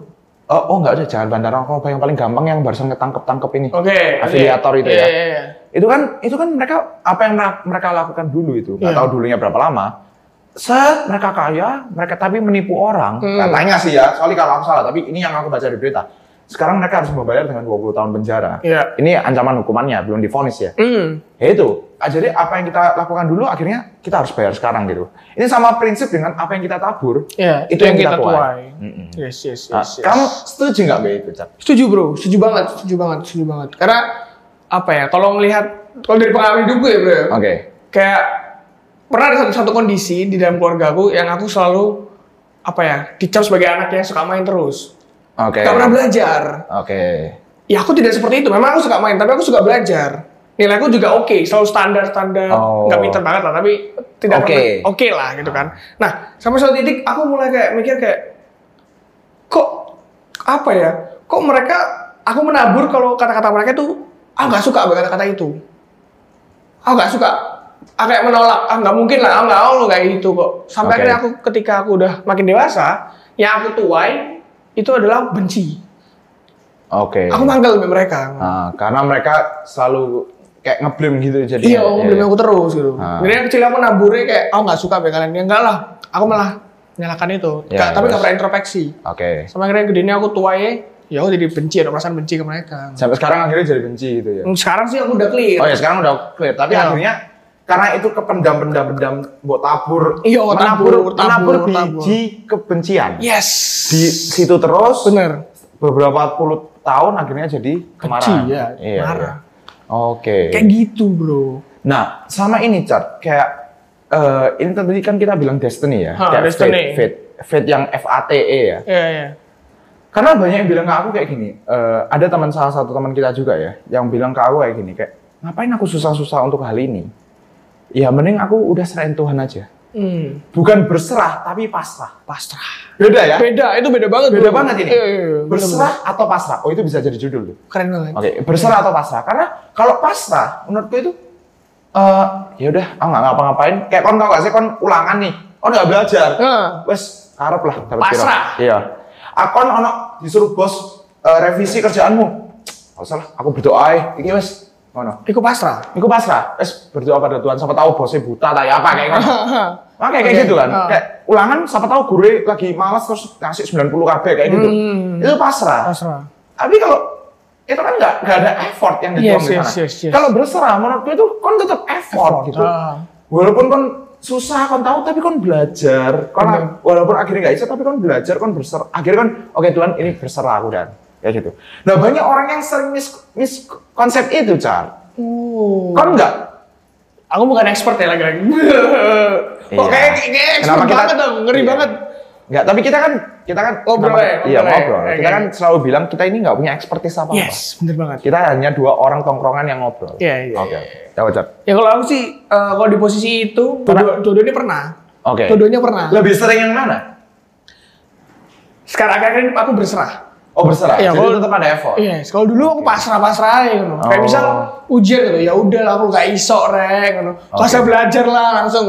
Speaker 2: eh, oh nggak ada, jangan bandar narkoba yang paling gampang yang barusan ketangkep-tangkep ini.
Speaker 3: oke oke.
Speaker 2: Afiliator itu
Speaker 3: Iya,
Speaker 2: ya.
Speaker 3: iya, iya.
Speaker 2: Itu kan, itu kan mereka, apa yang mer- mereka lakukan dulu itu, nggak
Speaker 3: Iya.
Speaker 2: tahu dulunya berapa lama. Set, mereka kaya, mereka tapi menipu orang.
Speaker 3: Hmm.
Speaker 2: Katanya sih ya, soalnya kalau aku salah, tapi ini yang aku baca di berita. Sekarang mereka harus membayar dengan 20 tahun penjara.
Speaker 3: Iya.
Speaker 2: Ini ancaman hukumannya, belum difonis ya.
Speaker 3: hmm
Speaker 2: Ya itu. Ah, Jadi apa yang kita lakukan dulu akhirnya kita harus bayar sekarang gitu. Ini sama prinsip dengan apa yang kita tabur.
Speaker 3: ya
Speaker 2: Itu yang kita tuai. Mm-mm.
Speaker 3: yes yes yes,
Speaker 2: Ah,
Speaker 3: yes.
Speaker 2: Kamu setuju nggak Mbak itu, Cak?
Speaker 3: setuju bro setuju banget setuju banget setuju banget karena apa ya kalau melihat kalau dari pengalaman hidup gue ya bro ya,
Speaker 2: Oke.
Speaker 3: kayak pernah ada satu, satu kondisi di dalam keluarga aku yang aku selalu apa ya dicap sebagai anak yang suka main terus
Speaker 2: Oke.
Speaker 3: gak pernah belajar
Speaker 2: Oke.
Speaker 3: ya aku tidak seperti itu memang aku suka main tapi aku suka belajar nilaiku juga oke selalu standar standar
Speaker 2: Oh.
Speaker 3: nggak pinter banget lah tapi
Speaker 2: Oke.
Speaker 3: tidak pernah oke lah gitu kan nah sampai suatu titik aku mulai kayak mikir kayak kok apa ya kok mereka aku menabur kalau kata-kata mereka tuh aku nggak suka sama kata-kata itu aku nggak suka aku kayak menolak ah nggak mungkin lah aku nggak mau lo kayak gitu kok sampai
Speaker 2: Oke.
Speaker 3: akhirnya aku ketika aku udah makin dewasa yang aku tuai itu adalah benci
Speaker 2: Oke.
Speaker 3: aku manggil sama mereka
Speaker 2: Ah, karena mereka selalu kayak ngeblim gitu jadi.
Speaker 3: Iya, aku beli aku terus gitu.
Speaker 2: Ah.
Speaker 3: Jadi yang kecil aku naburnya kayak, aku nggak suka sama kalian. Ya enggak lah, aku malah nyalakan itu.
Speaker 2: Ya,
Speaker 3: Nggak- tapi
Speaker 2: terus.
Speaker 3: nggak pernah introspeksi.
Speaker 2: Oke.
Speaker 3: Sama akhirnya gedenya aku tuanya, ya aku jadi benci, ada perasaan benci ke mereka.
Speaker 2: Sampai sekarang akhirnya jadi benci gitu ya.
Speaker 3: Sekarang sih aku udah clear.
Speaker 2: Oh ya sekarang udah clear, tapi
Speaker 3: Iya.
Speaker 2: akhirnya karena itu kependam pendam pendam buat tabur,
Speaker 3: Iya, buat
Speaker 2: menabur,
Speaker 3: tabur, tabur, Iya.
Speaker 2: menabur biji kebencian
Speaker 3: Yes.
Speaker 2: di situ terus
Speaker 3: Bener.
Speaker 2: beberapa puluh tahun akhirnya jadi kemarahan.
Speaker 3: Benci, ya,
Speaker 2: Iya,
Speaker 3: marah.
Speaker 2: iya. Oke.
Speaker 3: Kayak gitu bro.
Speaker 2: Nah, sama ini Cat, kayak eh, ini tadi kan kita bilang destiny ya,
Speaker 3: Ha,
Speaker 2: kayak fate,
Speaker 3: destiny.
Speaker 2: fate, fate yang FATE ya.
Speaker 3: Iya iya.
Speaker 2: Karena banyak yang bilang ke aku kayak gini, eh, ada teman salah satu teman kita juga ya, yang bilang ke aku kayak gini, kayak ngapain aku susah-susah untuk hal ini? Ya mending aku udah serahin Tuhan aja.
Speaker 3: Hmm.
Speaker 2: Bukan berserah, tapi pasrah.
Speaker 3: Pasrah.
Speaker 2: Beda ya?
Speaker 3: Beda, itu beda banget.
Speaker 2: Beda
Speaker 3: bro.
Speaker 2: banget ini.
Speaker 3: Iya iya. iya. Bener-bener.
Speaker 2: Berserah atau pasrah? Oh itu bisa jadi judul tuh.
Speaker 3: Keren banget.
Speaker 2: Oke, berserah atau pasrah? Karena kalau pasrah, menurutku itu eh ya udah, aku nggak ngapa-ngapain. Kayak kon tau gak sih, kon ulangan nih, kon nggak belajar.
Speaker 3: Heeh.
Speaker 2: Wes, karep lah, dapat
Speaker 3: Pasrah.
Speaker 2: piro. Iya. Aku ono disuruh bos eh, revisi kerjaanmu. Gak usah lah, aku berdoa ae. Iki wes ngono.
Speaker 3: Iku pasrah.
Speaker 2: Iku pasrah. Wes berdoa pada Tuhan, siapa tahu bosnya buta tak apa kayak ngono. Nah, kayak, kayak
Speaker 3: Oke,
Speaker 2: gitu kan.
Speaker 3: ah.
Speaker 2: Kayak ulangan siapa tahu guru lagi malas terus ngasih 90 KB kayak gitu.
Speaker 3: Hmm.
Speaker 2: Itu pasrah.
Speaker 3: pasrah.
Speaker 2: Tapi kalau itu kan nggak nggak ada effort yang dituang
Speaker 3: Yes,
Speaker 2: di
Speaker 3: yes,
Speaker 2: sana.
Speaker 3: yes, yes.
Speaker 2: Kalau berserah menurutku itu kon tetap effort, gitu.
Speaker 3: Ah.
Speaker 2: Walaupun kon susah kon tahu tapi kon belajar. Kon walaupun akhirnya nggak bisa tapi kon belajar kon berserah. Akhirnya kon oke Tuhan ini berserah aku dan kayak gitu. Nah banyak orang yang sering mis, mis konsep itu Char.
Speaker 3: Oh.
Speaker 2: Kon nggak
Speaker 3: Aku bukan expert ya lagi-lagi.
Speaker 2: Iya.
Speaker 3: Kok kayak kayak- kayak expert
Speaker 2: Kenapa kita-
Speaker 3: banget dong, ngeri
Speaker 2: Iya.
Speaker 3: banget.
Speaker 2: nggak tapi kita kan kita kan
Speaker 3: Ngobrol
Speaker 2: kenapa-
Speaker 3: ya,
Speaker 2: iya
Speaker 3: ngobrol ya.
Speaker 2: ngobrol.
Speaker 3: Oke.
Speaker 2: Kita kan selalu bilang kita ini nggak punya expertise apa apa.
Speaker 3: Yes, bener banget.
Speaker 2: Kita hanya dua orang tongkrongan yang ngobrol.
Speaker 3: Iya, iya,
Speaker 2: Oke. Coba Char.
Speaker 3: Ya kalau aku sih eh, kalau di posisi itu
Speaker 2: Pernah? Iya,
Speaker 3: dua-duanya pernah.
Speaker 2: Oke.
Speaker 3: Dua-duanya pernah.
Speaker 2: Lebih sering yang mana?
Speaker 3: Sekarang akhirnya aku berserah.
Speaker 2: Oh berserah.
Speaker 3: Iya,
Speaker 2: Jadi
Speaker 3: kalau-
Speaker 2: tetap ada effort.
Speaker 3: Yes, kalau dulu aku pasrah-pasrah aja gitu. Kayak
Speaker 2: Oh.
Speaker 3: misal ujian gitu, ya udah lah aku gak iso rek gitu. Kalau
Speaker 2: Oke.
Speaker 3: saya belajar lah langsung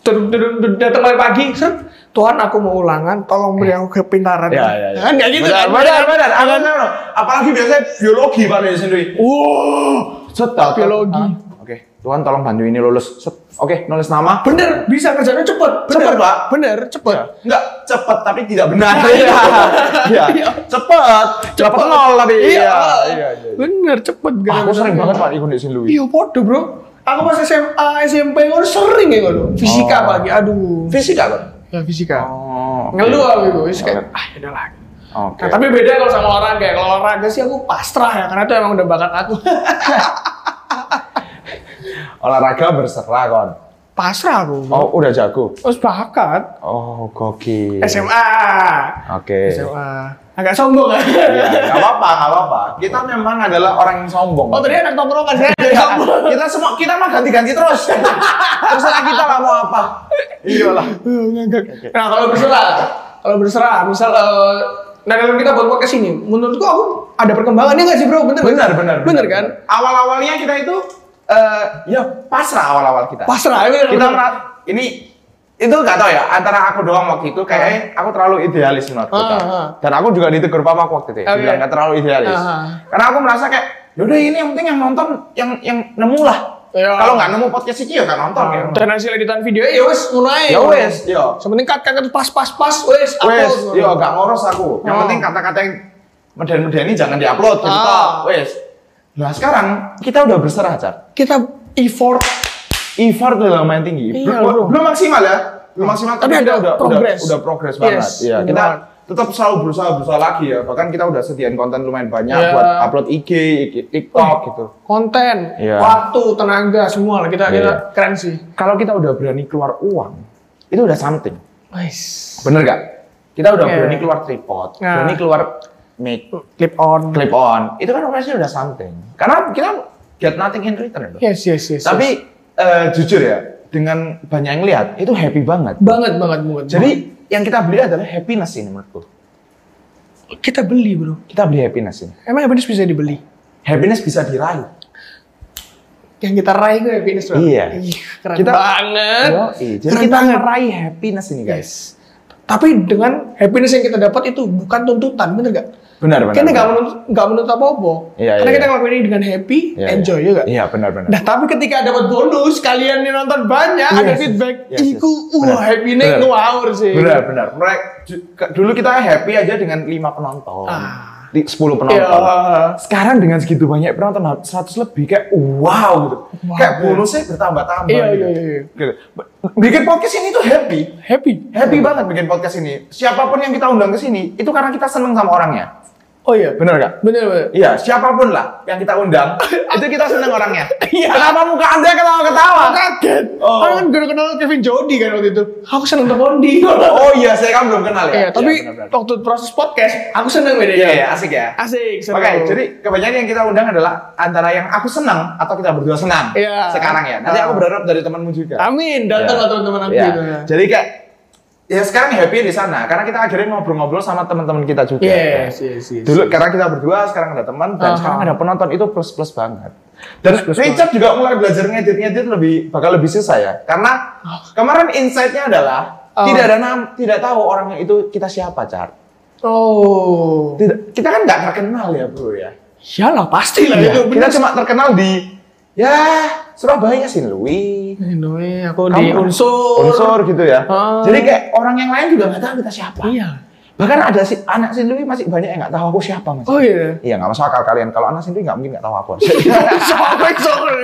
Speaker 3: Duduk- duduk- duduk- datang mulai pagi, seret, Tuhan aku mau ulangan, tolong beri aku kepintaran.
Speaker 2: Ya, ya, ya.
Speaker 3: Kan kayak gitu
Speaker 2: Benar,
Speaker 3: kan. Iya.
Speaker 2: benar, benar. Aku tahu. Apalagi biasanya biologi Pak Nek sendiri. Wow, set tak-
Speaker 3: Biologi.
Speaker 2: Ah, Oke, Tuhan tolong bantu ini lulus. Set. Oke, nulis nama.
Speaker 3: Bener, bisa kerjanya cepet.
Speaker 2: Cepet,
Speaker 3: Bener,
Speaker 2: Pak. Iya.
Speaker 3: Bener, cepet.
Speaker 2: Enggak cepat tapi tidak benar.
Speaker 3: Iya.
Speaker 2: Nah, Iya.
Speaker 3: Iya.
Speaker 2: Cepat. Dapat nol tapi. Iya, iya.
Speaker 3: Bener, cepet.
Speaker 2: Aku sering banget Pak ikut Nek Louis.
Speaker 3: Iya, podo bro. Aku pas SMA, SMP, aku sering ya ngono. Fisika pagi, aduh.
Speaker 2: Oh. Fisika kan?
Speaker 3: Ya, fisika.
Speaker 2: Oh. oke. Iya.
Speaker 3: Ngeluh aku itu, wis
Speaker 2: Oke.
Speaker 3: kayak, ah yaudah lah.
Speaker 2: Oke.
Speaker 3: Nah, tapi beda kalau sama olahraga. Kalau olahraga sih aku pasrah ya, karena itu emang udah bakat aku.
Speaker 2: olahraga berserah kon.
Speaker 3: pasrah aku. bro.
Speaker 2: Oh, udah jago.
Speaker 3: Terus bakat.
Speaker 2: Oh, gokil.
Speaker 3: SMA.
Speaker 2: Oke.
Speaker 3: SMA. Agak sombong kan?
Speaker 2: Ya, nggak apa-apa, nggak apa-apa. Kita memang adalah orang yang sombong.
Speaker 3: Oh, tadi anak tongkrongan saya agak
Speaker 2: Iya,
Speaker 3: sombong.
Speaker 2: kita semua kita mah ganti-ganti terus. Terserah kita lah mau apa. Iyalah.
Speaker 3: Nah, kalau berserah. kalau berserah misal eh, nah dalam kita buat podcast ini menurutku aku ada perkembangan ya nggak sih bro bener nggak sih?
Speaker 2: Benar, benar,
Speaker 3: bener
Speaker 2: benar.
Speaker 3: kan
Speaker 2: Awal-awalnya kita itu
Speaker 3: Eh,
Speaker 2: ya pasrah awal-awal kita.
Speaker 3: pasrah ya, bener,
Speaker 2: Kita
Speaker 3: bener.
Speaker 2: merasa ini itu nggak tahu ya antara aku doang waktu itu kayaknya aku terlalu idealis menurut kita.
Speaker 3: Ah, ah.
Speaker 2: Dan aku juga ditegur papa aku waktu itu.
Speaker 3: Oke.
Speaker 2: Okay. Bilang nggak terlalu idealis.
Speaker 3: Ah, ah.
Speaker 2: Karena aku merasa kayak yaudah ini yang penting yang nonton yang yang nemu lah.
Speaker 3: Iya. Ah.
Speaker 2: Kalau nggak nemu podcast ini ya nggak nonton ya.
Speaker 3: dan hasil editan video ya wes mulai
Speaker 2: Ya wes, yo.
Speaker 3: sementing cut cut cut, pas pas pas wes
Speaker 2: Wes,
Speaker 3: upload.
Speaker 2: yo gak ngurus aku. Yang
Speaker 3: Oh.
Speaker 2: penting kata-kata yang meden-medeni jangan diupload gitu.
Speaker 3: Ah.
Speaker 2: toh. Wes. Nah, sekarang kita udah berserah, Cak.
Speaker 3: kita effort
Speaker 2: Effort udah lumayan tinggi.
Speaker 3: Iya,
Speaker 2: belum,
Speaker 3: bro.
Speaker 2: belum maksimal ya. Belum maksimal
Speaker 3: Tapi ada
Speaker 2: udah
Speaker 3: progress.
Speaker 2: udah, udah progress
Speaker 3: Yes,
Speaker 2: banget. Iya,
Speaker 3: benar.
Speaker 2: kita tetap selalu berusaha berusaha lagi ya. Bahkan kita udah sediain konten lumayan banyak
Speaker 3: Iya. Oh.
Speaker 2: buat upload IG, TikTok gitu.
Speaker 3: konten
Speaker 2: Iya.
Speaker 3: waktu tenaga semua lah kita kita
Speaker 2: Iya.
Speaker 3: keren sih
Speaker 2: Kalau kita udah berani keluar uang, itu udah something.
Speaker 3: nice
Speaker 2: Bener gak? Kita udah
Speaker 3: Oke.
Speaker 2: berani keluar tripod,
Speaker 3: Iya. Nah.
Speaker 2: berani keluar mic,
Speaker 3: clip on
Speaker 2: clip on itu kan operasinya udah something karena kita get nothing in return bro.
Speaker 3: yes yes yes yes.
Speaker 2: tapi eh, jujur ya dengan banyak yang lihat itu happy banget
Speaker 3: banget banget banget
Speaker 2: jadi yang kita beli adalah happiness ini menurutku
Speaker 3: banget. kita beli bro
Speaker 2: kita beli happiness ini
Speaker 3: emang happiness bisa dibeli
Speaker 2: happiness bisa diraih
Speaker 3: yang kita raih itu happiness bro
Speaker 2: Iya.
Speaker 3: keren
Speaker 2: Kita-
Speaker 3: banget
Speaker 2: Yoi. jadi
Speaker 3: Keren
Speaker 2: kita
Speaker 3: banget.
Speaker 2: meraih happiness ini guys
Speaker 3: tapi dengan happiness yang kita dapat itu bukan tuntutan bener gak
Speaker 2: benar benar
Speaker 3: Karena nggak
Speaker 2: benar.
Speaker 3: menuntut nggak menuntut apa apa.
Speaker 2: Iya, iya,
Speaker 3: Karena kita
Speaker 2: iya.
Speaker 3: ngelakuin ini dengan happy,
Speaker 2: Iya,
Speaker 3: enjoy
Speaker 2: iya.
Speaker 3: juga.
Speaker 2: iya benar benar
Speaker 3: Nah tapi ketika dapat bonus kalian yang nonton banyak ada
Speaker 2: Yes,
Speaker 3: feedback,
Speaker 2: yes, yes.
Speaker 3: iku
Speaker 2: Benar,
Speaker 3: wah happy nih
Speaker 2: benar.
Speaker 3: ngawur sih.
Speaker 2: benar benar Mereka- ju- ke- dulu kita happy aja dengan 5 penonton
Speaker 3: Ah.
Speaker 2: Di- 10
Speaker 3: Iya.
Speaker 2: penonton sekarang dengan segitu banyak penonton 100 lebih kayak wow gitu.
Speaker 3: Wow.
Speaker 2: kayak bonusnya bertambah-tambah
Speaker 3: Iya,
Speaker 2: gitu.
Speaker 3: iya, iya.
Speaker 2: Gitu. Bikin podcast ini tuh happy.
Speaker 3: Happy.
Speaker 2: Happy banget bikin podcast ini. Siapapun yang kita undang ke sini itu karena kita seneng sama orangnya.
Speaker 3: Oh iya.
Speaker 2: Bener gak?
Speaker 3: Bener bener.
Speaker 2: Iya, siapapun lah yang kita undang, itu kita seneng orangnya.
Speaker 3: Iya.
Speaker 2: Kenapa muka Anda ketawa-ketawa?
Speaker 3: Kaget.
Speaker 2: Oh.
Speaker 3: Orang kan baru kenal Kevin Jody kan waktu itu. Aku seneng sama Bondi.
Speaker 2: Oh iya, saya kan belum kenal ya.
Speaker 3: Iya, tapi
Speaker 2: benar-benar.
Speaker 3: waktu proses podcast, aku seneng beda
Speaker 2: Iya, iya, asik ya.
Speaker 3: Asik, seru.
Speaker 2: Oke, jadi kebanyakan yang kita undang adalah antara yang aku senang atau kita berdua senang.
Speaker 3: Iya.
Speaker 2: Sekarang ya. Nanti aku berharap dari temanmu juga.
Speaker 3: Amin, datanglah
Speaker 2: Iya.
Speaker 3: teman-teman aku
Speaker 2: Iya.
Speaker 3: gitu ya.
Speaker 2: Jadi kayak ya sekarang happy di sana karena kita akhirnya ngobrol-ngobrol sama teman-teman kita juga.
Speaker 3: Yes, yes, yes.
Speaker 2: Iya. Dulu karena kita berdua, sekarang ada teman dan
Speaker 3: Gitu. Aha.
Speaker 2: sekarang ada penonton itu plus-plus banget. Dan Richard juga mulai belajar ngedit-ngedit lebih bakal lebih susah ya. Karena kemarin insight-nya adalah
Speaker 3: Oh.
Speaker 2: tidak ada nam- tidak tahu orangnya itu kita siapa, Char.
Speaker 3: Oh.
Speaker 2: Tidak, kita kan nggak terkenal ya, Bro ya.
Speaker 3: Iyalah pasti lah
Speaker 2: Iya,
Speaker 3: itu
Speaker 2: kita
Speaker 3: bener.
Speaker 2: cuma terkenal di ya Surabaya sih, Lui.
Speaker 3: Anyway, aku
Speaker 2: Kamu
Speaker 3: di
Speaker 2: kan
Speaker 3: unsur.
Speaker 2: unsur gitu ya.
Speaker 3: Ah.
Speaker 2: Jadi kayak orang yang lain juga nggak tahu kita siapa.
Speaker 3: Iya.
Speaker 2: Bahkan ada si anak sendiri masih banyak yang nggak tahu aku siapa mas.
Speaker 3: Oh iya.
Speaker 2: Iya nggak masuk akal kalian. Kalau anak sendiri nggak mungkin nggak tahu aku.
Speaker 3: Sampai sore.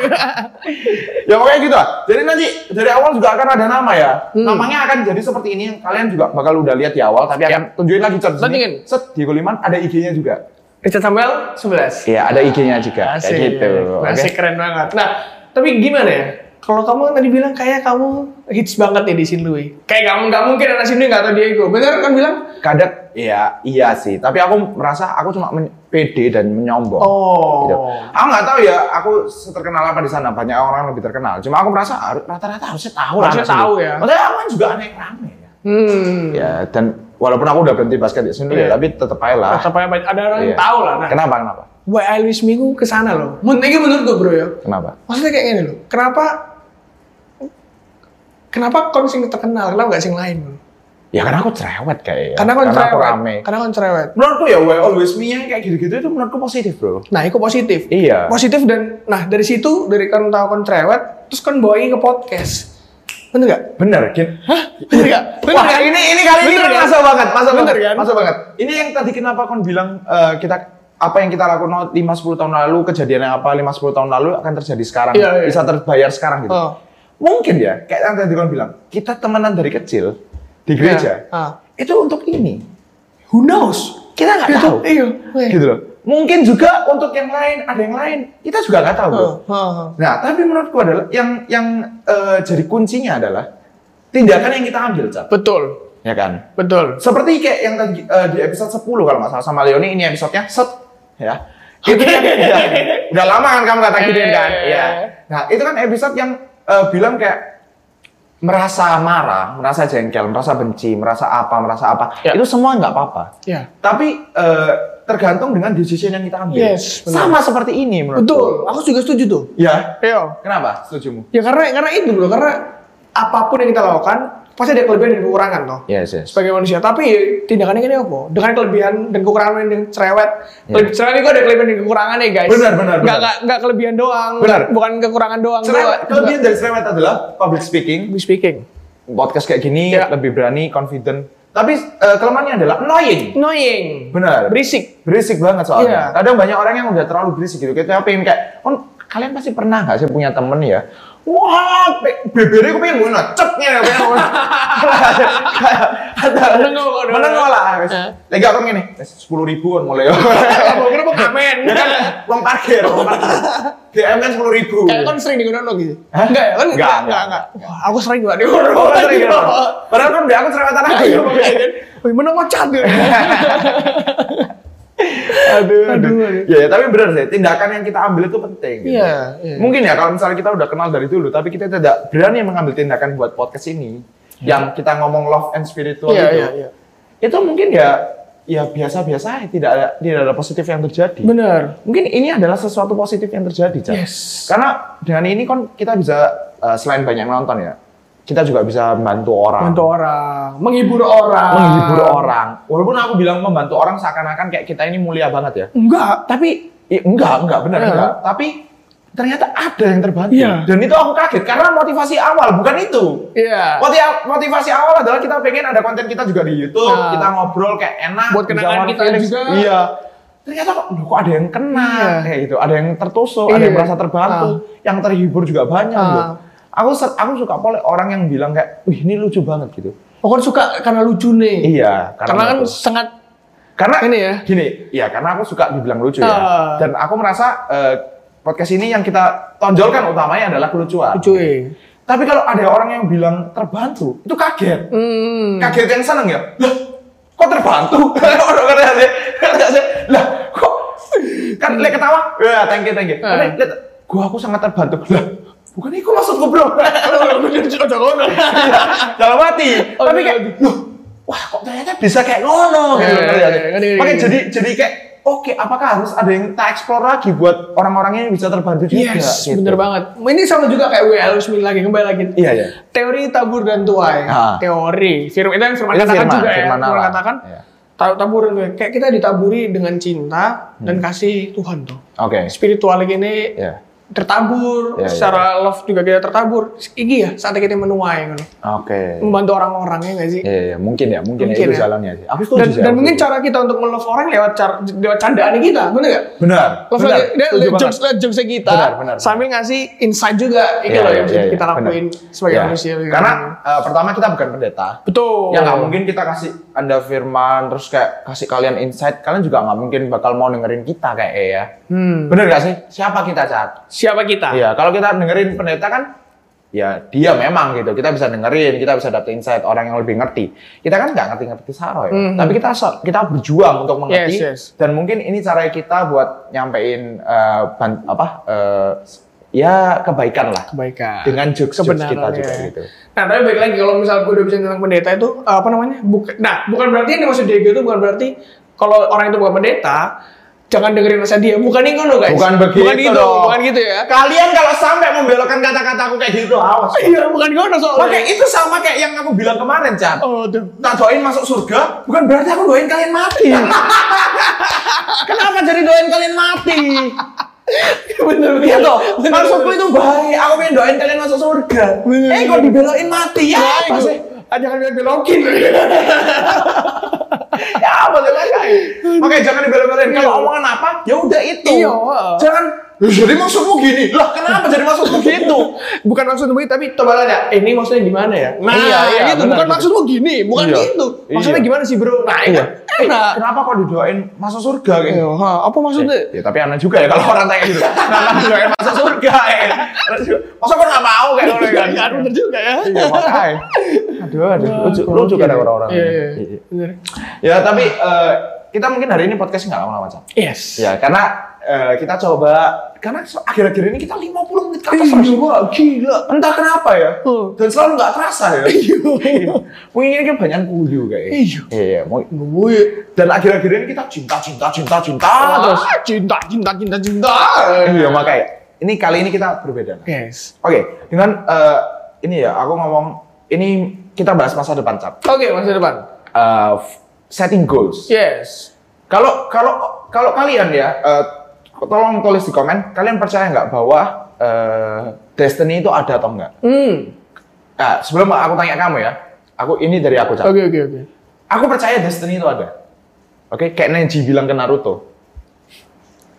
Speaker 2: ya pokoknya gitu lah. Jadi nanti dari awal juga akan ada nama ya. Namanya akan jadi seperti ini. Kalian juga bakal udah lihat di awal. Tapi akan tunjukin lagi cer.
Speaker 3: Tunjukin.
Speaker 2: Set Diego Liman ada IG-nya juga.
Speaker 3: Richard Samuel 11.
Speaker 2: Iya ada IG-nya juga. Kayak gitu. Oke.
Speaker 3: Asik keren banget. Nah, tapi gimana ya? Kalau kamu tadi bilang kayak kamu hits banget nih di Sinlui. Kayak kamu nggak mungkin anak Sinlui nggak tahu Diego. Bener kan bilang?
Speaker 2: Kadang iya iya sih. Tapi aku merasa aku cuma men- pede dan menyombong.
Speaker 3: Oh.
Speaker 2: gitu. Aku nggak tahu ya, aku terkenal apa di sana. Banyak orang yang lebih terkenal. Cuma aku merasa har- rata-rata harusnya tahu lah. anak
Speaker 3: Harusnya
Speaker 2: sini.
Speaker 3: tahu ya.
Speaker 2: Maksudnya aku kan juga aneh yang rame ya.
Speaker 3: Hmm.
Speaker 2: Ya dan walaupun aku udah berhenti basket di sini ya,
Speaker 3: Iya.
Speaker 2: tapi tetap aja lah.
Speaker 3: Apa yang banyak- ada orang yang
Speaker 2: Iya.
Speaker 3: tahu lah. Nah,
Speaker 2: Kenapa kenapa?
Speaker 3: Why I Wish Me ku kesana loh. Men- Ini menurut gue bro ya.
Speaker 2: Kenapa?
Speaker 3: Maksudnya kayak gini loh. Kenapa? Kenapa kon sing terkenal? Kenapa nggak sing lain? Bro?
Speaker 2: Ya karena aku cerewet kayaknya.
Speaker 3: karena kon cerewet
Speaker 2: aku Ya, rame.
Speaker 3: karena kon cerewet
Speaker 2: Menurutku ya, why always me yang kayak gitu-gitu itu menurutku positif bro.
Speaker 3: nah itu positif
Speaker 2: Iya.
Speaker 3: positif dan nah dari situ dari kon tahu kon cerewet terus kon bawain ke podcast bener nggak
Speaker 2: Bener, Gin.
Speaker 3: hah bener nggak bener
Speaker 2: Wah,
Speaker 3: kan?
Speaker 2: ini ini kali ini
Speaker 3: Bener
Speaker 2: kan
Speaker 3: kan?
Speaker 2: masuk banget, masuk
Speaker 3: Bener
Speaker 2: banget,
Speaker 3: kan?
Speaker 2: masuk banget. Ini yang tadi kenapa kon bilang eh, kita apa yang kita lakukan 5 10 tahun lalu, kejadian yang apa 5 10 tahun lalu akan terjadi sekarang,
Speaker 3: Iya, iya.
Speaker 2: bisa terbayar sekarang gitu.
Speaker 3: Oh.
Speaker 2: Mungkin ya, kayak yang tadi kon bilang, kita temenan dari kecil di gereja.
Speaker 3: Iya. Ah.
Speaker 2: Itu untuk ini.
Speaker 3: who knows
Speaker 2: Kita nggak
Speaker 3: Gitu,
Speaker 2: tahu.
Speaker 3: iya Weh.
Speaker 2: Gitu loh. Mungkin juga untuk yang lain, ada yang lain, kita juga nggak tahu. bro.
Speaker 3: Oh, oh, oh.
Speaker 2: Nah, tapi menurutku adalah yang yang eh, jadi kuncinya adalah tindakan yang kita ambil, Cap.
Speaker 3: betul
Speaker 2: Ya kan?
Speaker 3: betul
Speaker 2: Seperti kayak yang tadi eh, di episode 10 kalau nggak salah sama Leoni ini episodenya set ya. Itu kan, ya, udah lama kan kamu kata gituin kan?
Speaker 3: Eh.
Speaker 2: Iya. Nah, itu kan episode yang eh, bilang kayak merasa marah, merasa jengkel, merasa benci, merasa apa, merasa apa,
Speaker 3: Ya.
Speaker 2: itu semua nggak apa-apa.
Speaker 3: Iya.
Speaker 2: Tapi eh, tergantung dengan decision yang kita ambil.
Speaker 3: Yes, benar.
Speaker 2: Sama seperti ini menurut
Speaker 3: Betul. Aku juga setuju tuh.
Speaker 2: Ya.
Speaker 3: Iya.
Speaker 2: Kenapa? Setujumu?
Speaker 3: Ya karena karena itu loh, karena apapun yang kita lakukan pasti ada kelebihan dan kekurangan toh.
Speaker 2: Yes, yes.
Speaker 3: Sebagai manusia, tapi ya, tindakannya gini apa? Dengan kelebihan dan kekurangan yang cerewet.
Speaker 2: Iya.
Speaker 3: Kelebi- Cerewet itu ada kelebihan dan kekurangan ya guys.
Speaker 2: Benar, benar,
Speaker 3: Nggak,
Speaker 2: benar.
Speaker 3: nggak, nggak kelebihan doang.
Speaker 2: Benar.
Speaker 3: Bukan kekurangan doang.
Speaker 2: Cerewet,
Speaker 3: Juga-
Speaker 2: kelebihan dari cerewet adalah public speaking,
Speaker 3: juga speaking.
Speaker 2: podcast kayak gini
Speaker 3: Ya.
Speaker 2: lebih berani, confident. Iya. Tapi eh, kelemahannya adalah annoying.
Speaker 3: Annoying.
Speaker 2: Benar.
Speaker 3: Berisik.
Speaker 2: Berisik banget soalnya.
Speaker 3: Iya.
Speaker 2: Kadang banyak orang yang udah terlalu berisik gitu. Kita pengen kayak, "Oh, kalian pasti pernah nggak sih punya temen ya? Wah, be- bebernya gue pengen munat, cepnya pengen munat. Kayak- kayak-
Speaker 3: Menengok, aduh.
Speaker 2: Menengok lah. wes.
Speaker 3: Eh.
Speaker 2: Lagi aku gini, sepuluh ribuan mulai.
Speaker 3: Kalau kenapa ngamen?
Speaker 2: Ya kan, uang parkir, uang parkir. DM kan sepuluh ribu.
Speaker 3: Kayak kan sering digunakan lagi.
Speaker 2: Hah?
Speaker 3: Enggak ya?
Speaker 2: Enggak,
Speaker 3: Kan enggak,
Speaker 2: enggak.
Speaker 3: enggak, enggak. Wah, aku sering gak digunakan.
Speaker 2: Oh, kan sering gitu. Padahal kan dia aku cerewetan aku ya.
Speaker 3: Wih, mana ngocat ya?
Speaker 2: aduh,
Speaker 3: Aduh,
Speaker 2: aduh.
Speaker 3: aduh.
Speaker 2: Ya, ya, tapi benar sih, tindakan yang kita ambil itu penting. gitu.
Speaker 3: Iya, iya.
Speaker 2: Mungkin ya kalau misalnya kita udah kenal dari dulu, tapi kita tidak berani mengambil tindakan buat podcast ini, yang kita ngomong love and spiritual
Speaker 3: Iya,
Speaker 2: itu,
Speaker 3: iya, iya.
Speaker 2: itu mungkin ya ya biasa-biasa aja, tidak ada tidak ada positif yang terjadi.
Speaker 3: Benar.
Speaker 2: Mungkin ini adalah sesuatu positif yang terjadi, Cak.
Speaker 3: Yes.
Speaker 2: Karena dengan ini kan kita bisa eh, selain banyak nonton ya, kita juga bisa membantu orang.
Speaker 3: Untuk orang, menghibur orang.
Speaker 2: menghibur orang. Walaupun aku bilang membantu orang seakan-akan kayak kita ini mulia banget ya.
Speaker 3: Enggak.
Speaker 2: Tapi i- enggak, enggak benar
Speaker 3: Iya.
Speaker 2: enggak. Tapi ternyata ada yang terbantu.
Speaker 3: Iya.
Speaker 2: Dan itu aku kaget karena motivasi awal bukan itu.
Speaker 3: Iya.
Speaker 2: Moti- Motivasi awal adalah kita pengen ada konten kita juga di YouTube,
Speaker 3: Nah.
Speaker 2: kita ngobrol kayak enak.
Speaker 3: Buat
Speaker 2: di
Speaker 3: kenangan
Speaker 2: zaman
Speaker 3: kita juga.
Speaker 2: Iya. Ternyata kok, loh, kok ada yang kena
Speaker 3: Iya.
Speaker 2: kayak gitu, ada yang tertusuk, ada
Speaker 3: Iya.
Speaker 2: yang merasa terbantu, yang terhibur juga banyak
Speaker 3: Ah.
Speaker 2: loh. Aku ser- aku suka pole orang yang bilang kayak, wih ini lucu banget gitu.
Speaker 3: Aku suka karena lucu nih.
Speaker 2: Iya,
Speaker 3: Karena kan
Speaker 2: aku-
Speaker 3: sangat
Speaker 2: karena
Speaker 3: Ini ya?
Speaker 2: gini ya karena aku suka dibilang lucu ya
Speaker 3: Ah.
Speaker 2: dan aku merasa eh, podcast ini yang kita tonjolkan utamanya adalah kelucuan
Speaker 3: lucu ya.
Speaker 2: tapi kalau ada orang yang bilang terbantu itu kaget
Speaker 3: Hmm.
Speaker 2: kaget yang seneng ya lah kok terbantu orang kata sih kata sih lah kok kan lihat ketawa ya thank you thank you Kan
Speaker 3: Eh.
Speaker 2: lihat gua aku sangat terbantu lah bukan itu maksudku bro Iya, dalam hati
Speaker 3: Oh,
Speaker 2: tapi
Speaker 3: iya,
Speaker 2: kayak loh wah kok ternyata bisa kayak ngono gitu Ngerti
Speaker 3: Iya, iya,
Speaker 2: nggak sih?
Speaker 3: iya, ngerti,
Speaker 2: makanya
Speaker 3: ngerti.
Speaker 2: jadi jadi kayak oke apakah harus ada yang tak explore lagi buat orang-orangnya yang bisa terbantu juga
Speaker 3: Yes,
Speaker 2: gitu.
Speaker 3: bener banget. Ini sama juga kayak WL Smith lagi, kembali lagi.
Speaker 2: Iya, iya.
Speaker 3: Teori tabur dan tuai.
Speaker 2: Ah.
Speaker 3: Teori. Firman itu yang firman
Speaker 2: Itu
Speaker 3: katakan
Speaker 2: firman,
Speaker 3: juga ya.
Speaker 2: firman
Speaker 3: Firman
Speaker 2: Allah.
Speaker 3: katakan
Speaker 2: Iya.
Speaker 3: ta- tabur dan tuai. Kayak kita ditaburi dengan cinta dan kasih Tuhan tuh.
Speaker 2: oke
Speaker 3: Spiritual ini
Speaker 2: Hmm. Iya. Iya,
Speaker 3: tertabur,
Speaker 2: iya.
Speaker 3: secara love juga kita tertabur. Iki ya, saat kita menuai kan.
Speaker 2: oke
Speaker 3: Membantu orang-orang ya nggak sih?
Speaker 2: Iya, iya, mungkin ya, mungkin, ya,
Speaker 3: Mungkin
Speaker 2: itu
Speaker 3: ya.
Speaker 2: jalannya sih. Aku setuju
Speaker 3: Dan,
Speaker 2: sih,
Speaker 3: dan
Speaker 2: aku
Speaker 3: mungkin
Speaker 2: setuju.
Speaker 3: cara kita untuk melove orang lewat cara lewat candaan kita, bener gak?
Speaker 2: benar,
Speaker 3: Love
Speaker 2: benar,
Speaker 3: lagi- dia
Speaker 2: setuju
Speaker 3: lihat jokes,
Speaker 2: banget.
Speaker 3: lihat jokesnya kita
Speaker 2: Benar, benar, benar.
Speaker 3: sambil ngasih insight juga itu
Speaker 2: Iya,
Speaker 3: loh yang
Speaker 2: iya,
Speaker 3: bisa
Speaker 2: iya,
Speaker 3: kita
Speaker 2: iya,
Speaker 3: lakuin
Speaker 2: benar.
Speaker 3: sebagai
Speaker 2: Iya.
Speaker 3: manusia gitu. Oh.
Speaker 2: Karena eh, pertama kita bukan pendeta.
Speaker 3: betul
Speaker 2: Ya nggak mungkin kita kasih anda firman terus kayak kasih kalian insight, kalian juga nggak mungkin bakal mau dengerin kita kayak eh, ya.
Speaker 3: Hmm.
Speaker 2: Bener nggak sih? Siapa kita Cat?
Speaker 3: siapa kita
Speaker 2: Iya, kalau kita dengerin pendeta kan ya dia memang gitu. Kita bisa dengerin, kita bisa dapet insight orang yang lebih ngerti. Kita kan nggak ngerti-ngerti saro ya.
Speaker 3: Mhm.
Speaker 2: Tapi kita so- kita berjuang untuk mengerti
Speaker 3: Yes,
Speaker 2: dan mungkin ini cara kita buat nyampein eh, ban- apa eh, ya kebaikan lah
Speaker 3: kebaikan
Speaker 2: dengan jokes, -jokes
Speaker 3: Nah, Kebenaran,
Speaker 2: kita juga
Speaker 3: ya.
Speaker 2: gitu.
Speaker 3: nah tapi balik lagi kalau misalnya gue udah bicara tentang pendeta itu eh, apa namanya bukan nah bukan berarti yang dimaksud Diego itu bukan berarti kalau orang itu bukan pendeta jangan dengerin nasihat dia bukan itu loh guys
Speaker 2: Bukan begitu
Speaker 3: bukan gitu
Speaker 2: dong.
Speaker 3: bukan gitu ya
Speaker 2: Kalian kalau sampai membelokkan kata-kataku kayak gitu awas.
Speaker 3: iya bukan gitu soalnya
Speaker 2: Oke, itu sama kayak yang aku bilang kemarin, Chan.
Speaker 3: oh tuh
Speaker 2: tak doain masuk surga, bukan berarti aku doain kalian mati.
Speaker 3: Iya.
Speaker 2: Kenapa jadi doain kalian mati?
Speaker 3: bener
Speaker 2: Iya toh,
Speaker 3: Bener,
Speaker 2: maksudku
Speaker 3: bener.
Speaker 2: itu baik. Aku pengen doain kalian masuk surga.
Speaker 3: Bener,
Speaker 2: eh,
Speaker 3: bener.
Speaker 2: kok dibelokin mati ya?
Speaker 3: Ya,
Speaker 2: Apa
Speaker 3: itu.
Speaker 2: sih?
Speaker 3: Ah, jangan belokin.
Speaker 2: Ya apa sih makanya? Makanya jangan dibelok-belokin. Kalau
Speaker 3: Iya.
Speaker 2: omongan apa, ya udah itu.
Speaker 3: Iya.
Speaker 2: Jangan. "Lah, Jadi maksudmu gini? Lah kenapa jadi maksudmu gitu?
Speaker 3: bukan maksud gue tapi coba tanya eh, ini maksudnya gimana ya nah
Speaker 2: Iya, iya,
Speaker 3: gitu
Speaker 2: benar,
Speaker 3: bukan
Speaker 2: gitu.
Speaker 3: maksud lo gini bukan
Speaker 2: Iya.
Speaker 3: gitu maksudnya
Speaker 2: Iya.
Speaker 3: gimana sih bro nah
Speaker 2: Iya.
Speaker 3: iya. enak
Speaker 2: Kenapa kok didoain masuk surga gitu? kayak
Speaker 3: Iya, ha, apa maksudnya
Speaker 2: Ya tapi aneh juga ya kalau orang tanya gitu. Kenapa didoain masuk surga? Ya? Masa kok nggak mau kayak
Speaker 3: Iya,
Speaker 2: gitu kan?
Speaker 3: iya, bener juga ya
Speaker 2: Iya makanya. Aduh, aduh, lucu,
Speaker 3: Oke.
Speaker 2: lucu kan ada orang-orang.
Speaker 3: iya, iya. bener
Speaker 2: Ya tapi eh, kita mungkin hari ini podcast nggak lama-lama Cak.
Speaker 3: yes
Speaker 2: Ya karena eh, kita coba karena se- akhir-akhir ini kita 50 menit ke atas
Speaker 3: Iya,
Speaker 2: Ras. gila. Entah kenapa ya.
Speaker 3: Hmm.
Speaker 2: Dan selalu nggak terasa ya. Iya. Mungkin ini kebanyakan kuyu kayaknya.
Speaker 3: Iya.
Speaker 2: Iya, mau nungguin. Dan akhir-akhir ini kita cinta cinta cinta cinta terus.
Speaker 3: Ah, cinta, cinta, cinta, cinta.
Speaker 2: Iya, makanya. Ini kali ini kita berbeda. Oke,
Speaker 3: Yes.
Speaker 2: dengan eh, ini ya aku ngomong ini kita bahas masa depan cap.
Speaker 3: Oke, masa depan.
Speaker 2: Eh, f- setting goals.
Speaker 3: Yes.
Speaker 2: Kalau kalau kalau kalian ya, eh, tolong tulis di komen. Kalian percaya nggak bahwa eh, destiny itu ada atau enggak?
Speaker 3: Hmm.
Speaker 2: Nah, sebelum aku tanya kamu ya, aku ini dari aku Cak.
Speaker 3: Oke, oke, oke.
Speaker 2: Aku percaya destiny itu ada. Oke, kayak Neji bilang ke Naruto.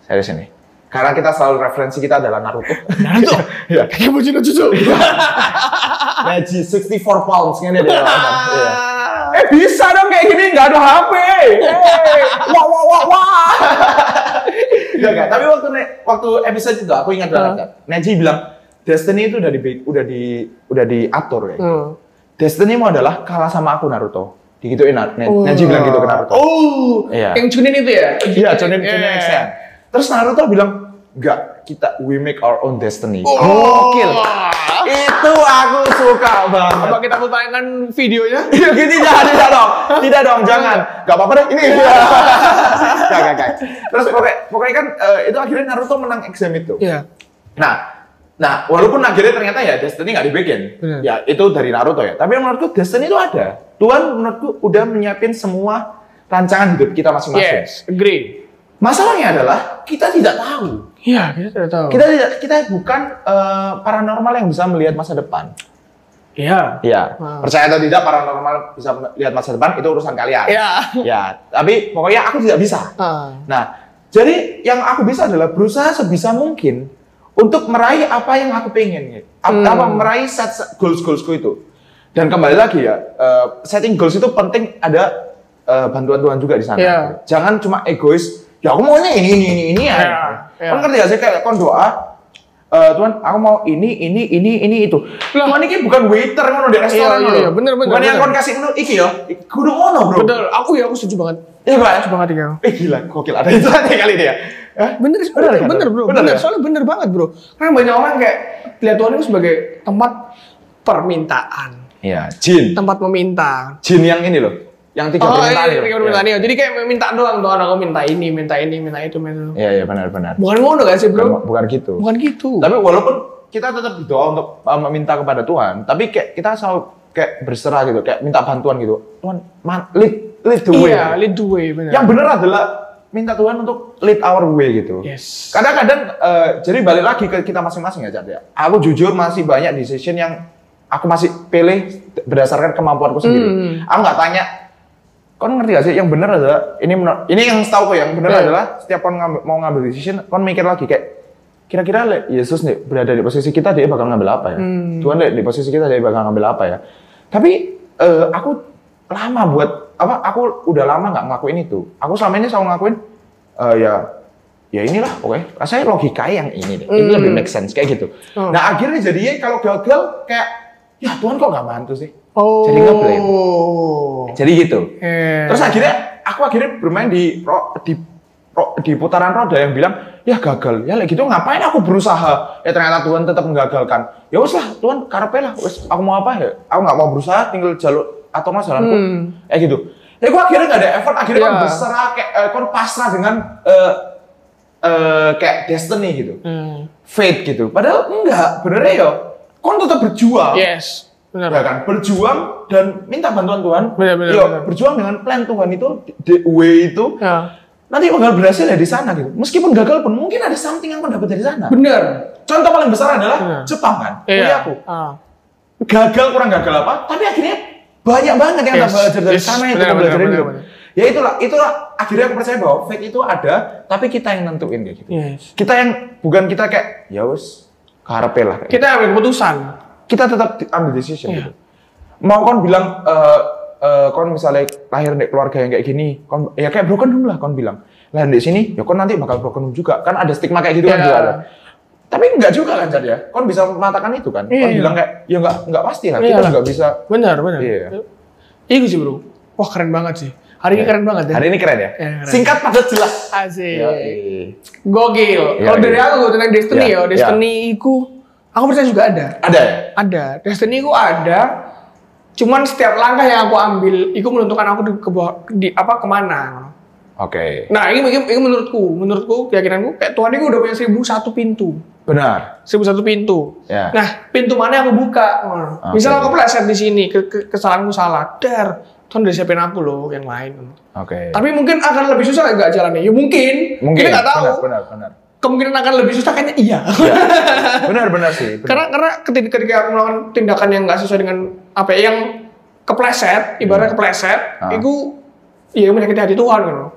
Speaker 2: Saya di sini. Karena kita selalu referensi kita adalah Naruto.
Speaker 3: Naruto.
Speaker 2: Iya.
Speaker 3: Kayak mau cinta cucu.
Speaker 2: Neji 64 pounds kan dia dia orang. Iya.
Speaker 3: Ah.
Speaker 2: Eh bisa dong kayak gini nggak ada HP. Hey, wah wah wah wah. Nggak, Iya, nggak. Tapi waktu ne- waktu episode itu aku ingat banget.
Speaker 3: Hmm.
Speaker 2: kan. Neji bilang Destiny itu udah di udah di udah diatur ya.
Speaker 3: Hmm.
Speaker 2: Destiny mau adalah kalah sama aku Naruto. Digituin Na- Ne- Neji bilang gitu ke Naruto.
Speaker 3: Oh,
Speaker 2: Iya.
Speaker 3: yang cunin itu ya?
Speaker 2: Iya, Chunin Chunin
Speaker 3: Iya.
Speaker 2: Exam. Terus Naruto bilang, "Enggak, kita we make our own destiny."
Speaker 3: Oh.
Speaker 2: Gokil. Itu aku suka banget.
Speaker 3: Apa kita pertanyakan videonya?
Speaker 2: Iya, gitu jangan, tidak dong, tidak dong, jangan. Gak apa-apa deh, ini.
Speaker 3: Iya.
Speaker 2: Gak, gak, gak. Terus pokoknya, pokoknya kan eh, itu akhirnya Naruto menang exam itu.
Speaker 3: Iya.
Speaker 2: Nah, nah walaupun akhirnya ternyata ya Destiny nggak dibikin,
Speaker 3: Benar.
Speaker 2: ya itu dari Naruto ya. Tapi menurutku Destiny itu ada. Tuhan menurutku udah menyiapin semua rancangan hidup kita masing-masing.
Speaker 3: Yes, agree.
Speaker 2: Masalahnya adalah kita tidak tahu.
Speaker 3: Iya, kita tidak tahu.
Speaker 2: Kita tidak, kita bukan eh, paranormal yang bisa melihat masa depan.
Speaker 3: Iya.
Speaker 2: Iya.
Speaker 3: Wow.
Speaker 2: Percaya atau tidak paranormal bisa melihat masa depan itu urusan kalian.
Speaker 3: Iya.
Speaker 2: Ya, tapi pokoknya aku tidak bisa.
Speaker 3: Ah.
Speaker 2: Nah, jadi yang aku bisa adalah berusaha sebisa mungkin untuk meraih apa yang aku pengen. Gitu. Apa,
Speaker 3: Hmm.
Speaker 2: apa meraih set set- goals-goalsku itu. Dan kembali lagi ya, eh, setting goals itu penting ada eh, bantuan Tuhan juga di sana.
Speaker 3: Iya.
Speaker 2: Jangan cuma egois. Ya aku maunya ini ini ini ini ya.
Speaker 3: Iya, iya.
Speaker 2: Kan ngerti gak sih kayak kon doa eh, Tuhan, aku mau ini, ini, ini, ini, itu.
Speaker 3: Lah.
Speaker 2: Tuhan ini bukan waiter ngono di restoran
Speaker 3: Iya, iya,
Speaker 2: ngono.
Speaker 3: iya, bener, bener,
Speaker 2: Bukan yang
Speaker 3: bener.
Speaker 2: kon kasih menu iki ya. Kudu ngono, Bro.
Speaker 3: Betul, aku ya, aku setuju banget.
Speaker 2: Iya, Pak.
Speaker 3: Setuju banget ya.
Speaker 2: Eh gila, gokil ada iklannya kali ini ya. Hah?
Speaker 3: Bener,
Speaker 2: Bener
Speaker 3: bener,
Speaker 2: kan?
Speaker 3: bener bro,
Speaker 2: Bener
Speaker 3: bener,
Speaker 2: ya?
Speaker 3: soalnya bener banget bro. Karena banyak orang kayak lihat Tuhan itu sebagai tempat permintaan,
Speaker 2: Iya, jin.
Speaker 3: tempat meminta.
Speaker 2: Jin yang ini loh, yang tiga
Speaker 3: Oh
Speaker 2: permintaan ya?
Speaker 3: iya,
Speaker 2: itu.
Speaker 3: tiga permintaan iya. Jadi kayak minta doang Tuhan, aku minta ini, minta ini, minta itu, minta itu.
Speaker 2: Iya, iya benar-benar.
Speaker 3: Bukan ngono gak sih
Speaker 2: Bukan,
Speaker 3: bro?
Speaker 2: bukan gitu.
Speaker 3: Bukan gitu.
Speaker 2: Tapi walaupun kita tetap berdoa untuk uh, meminta kepada Tuhan, tapi kayak kita selalu kayak berserah gitu, kayak minta bantuan gitu. Tuhan, man, lead, lead the way.
Speaker 3: Iya, lead the way bener.
Speaker 2: Yang benar adalah minta Tuhan untuk lead our way gitu.
Speaker 3: Yes.
Speaker 2: Kadang-kadang eh, jadi balik lagi ke kita masing-masing ya, Cat, ya. Aku jujur masih banyak decision yang aku masih pilih berdasarkan kemampuanku sendiri.
Speaker 3: Hmm.
Speaker 2: Aku nggak tanya Kon ngerti gak sih yang benar adalah ini menur- ini yang setahu aku yang benar
Speaker 3: Iya.
Speaker 2: adalah setiap kon ngambil- mau ngambil decision kon mikir lagi kayak kira-kira Le, Yesus nih berada di posisi kita dia bakal ngambil apa ya?
Speaker 3: Hmm.
Speaker 2: Tuhan Le, di posisi kita dia bakal ngambil apa ya? Tapi eh, aku lama buat apa aku udah lama nggak ngelakuin itu. Aku selama ini selalu ngelakuin eh, ya ya inilah oke. Rasanya logika yang ini deh. Ini
Speaker 3: Hmm.
Speaker 2: lebih make sense kayak gitu.
Speaker 3: Hmm.
Speaker 2: Nah, akhirnya jadinya kalau gagal kayak ya Tuhan kok nggak bantu sih?
Speaker 3: Oh.
Speaker 2: Jadi ngeblame. Jadi gitu.
Speaker 3: Eh.
Speaker 2: Terus akhirnya aku akhirnya bermain di ro- di ro- di putaran roda yang bilang ya gagal ya like gitu ngapain aku berusaha ya ternyata Tuhan tetap menggagalkan ya wes lah Tuhan karepe lah wes aku mau apa ya aku nggak mau berusaha tinggal jalur atau mas jalanku
Speaker 3: Hmm.
Speaker 2: kayak gitu ya gua akhirnya nggak ada effort akhirnya
Speaker 3: Iya.
Speaker 2: kan berserah kayak eh, kon pasrah dengan eh, eh, kayak destiny gitu
Speaker 3: Hmm.
Speaker 2: fate gitu padahal enggak benernya yo kon tetap berjuang
Speaker 3: Yes,
Speaker 2: Ya
Speaker 3: bener.
Speaker 2: kan? Berjuang dan minta bantuan Tuhan.
Speaker 3: Benar, benar,
Speaker 2: Yo,
Speaker 3: benar.
Speaker 2: berjuang dengan plan Tuhan itu, the way E itu,
Speaker 3: Ya.
Speaker 2: nanti bakal berhasil ya di sana gitu. Meskipun gagal pun mungkin ada something yang mendapat dari sana.
Speaker 3: Bener.
Speaker 2: Contoh paling besar adalah
Speaker 3: Benar.
Speaker 2: Jepang kan. Kuliah
Speaker 3: Iya.
Speaker 2: aku.
Speaker 3: Ah.
Speaker 2: Gagal kurang gagal apa, tapi akhirnya banyak banget yang
Speaker 3: Yes,
Speaker 2: tak belajar dari
Speaker 3: yes,
Speaker 2: sana yang
Speaker 3: benar,
Speaker 2: tak belajar
Speaker 3: benar,
Speaker 2: dari
Speaker 3: benar,
Speaker 2: Ya itulah, itulah akhirnya aku percaya bahwa fate itu ada, tapi kita yang nentuin kayak gitu.
Speaker 3: Yes.
Speaker 2: Kita yang bukan kita kayak ya wes karepe lah. kayak
Speaker 3: Kita ambil keputusan.
Speaker 2: kita tetap di- ambil decision
Speaker 3: Iya.
Speaker 2: gitu. Mau kon bilang eh eh, kon misalnya lahir di keluarga yang kayak gini, kon ya kayak broken home lah kon bilang. Lahir di sini, ya kon nanti bakal broken home juga. Kan ada stigma kayak gitu kan
Speaker 3: Iya.
Speaker 2: juga ada. Tapi enggak juga kan Jar ya. Kon bisa mengatakan itu kan. Kon
Speaker 3: Iya.
Speaker 2: bilang kayak ya enggak enggak pasti lah. Kita
Speaker 3: Iya.
Speaker 2: juga bisa
Speaker 3: Benar, benar.
Speaker 2: Iya.
Speaker 3: Iya. Iya sih bro. Wah keren banget sih. Hari ini keren banget ya.
Speaker 2: Hari ini keren ya.
Speaker 3: Iya, keren. Iya.
Speaker 2: Singkat padat jelas. Iya.
Speaker 3: Asik.
Speaker 2: Yoi.
Speaker 3: Gokil.
Speaker 2: Iya,
Speaker 3: Kalau dari
Speaker 2: iya.
Speaker 3: aku tentang Destiny
Speaker 2: Iya,
Speaker 3: ya,
Speaker 2: iya.
Speaker 3: Destiny iku aku percaya juga ada.
Speaker 2: Ada ya?
Speaker 3: Ada. Destiny iku ada. Cuman setiap langkah yang aku ambil, iku menentukan aku di, ke bawah- di apa kemana.
Speaker 2: Oke.
Speaker 3: Nah, ini, ini, ini menurutku, menurutku keyakinanku kayak Tuhan itu udah punya seribu satu pintu,
Speaker 2: Benar.
Speaker 3: seribu satu pintu.
Speaker 2: Ya.
Speaker 3: Nah, pintu mana yang aku buka? Nah,
Speaker 2: Oke.
Speaker 3: Misalnya aku peleset di sini, ke, ke, kesalahanku salah, dar, Tuhan udah siapin aku loh yang lain.
Speaker 2: Oke.
Speaker 3: Tapi mungkin akan lebih susah nggak jalannya? Ya mungkin.
Speaker 2: Mungkin.
Speaker 3: Kita nggak tahu.
Speaker 2: Benar, benar, benar.
Speaker 3: Kemungkinan akan lebih susah kayaknya iya.
Speaker 2: Benar, benar sih. benar.
Speaker 3: karena karena ketika, ketika aku melakukan tindakan yang nggak sesuai dengan apa ya, yang kepleset, ibaratnya kepleset,
Speaker 2: Ah.
Speaker 3: itu ya menyakiti hati Tuhan kan. loh.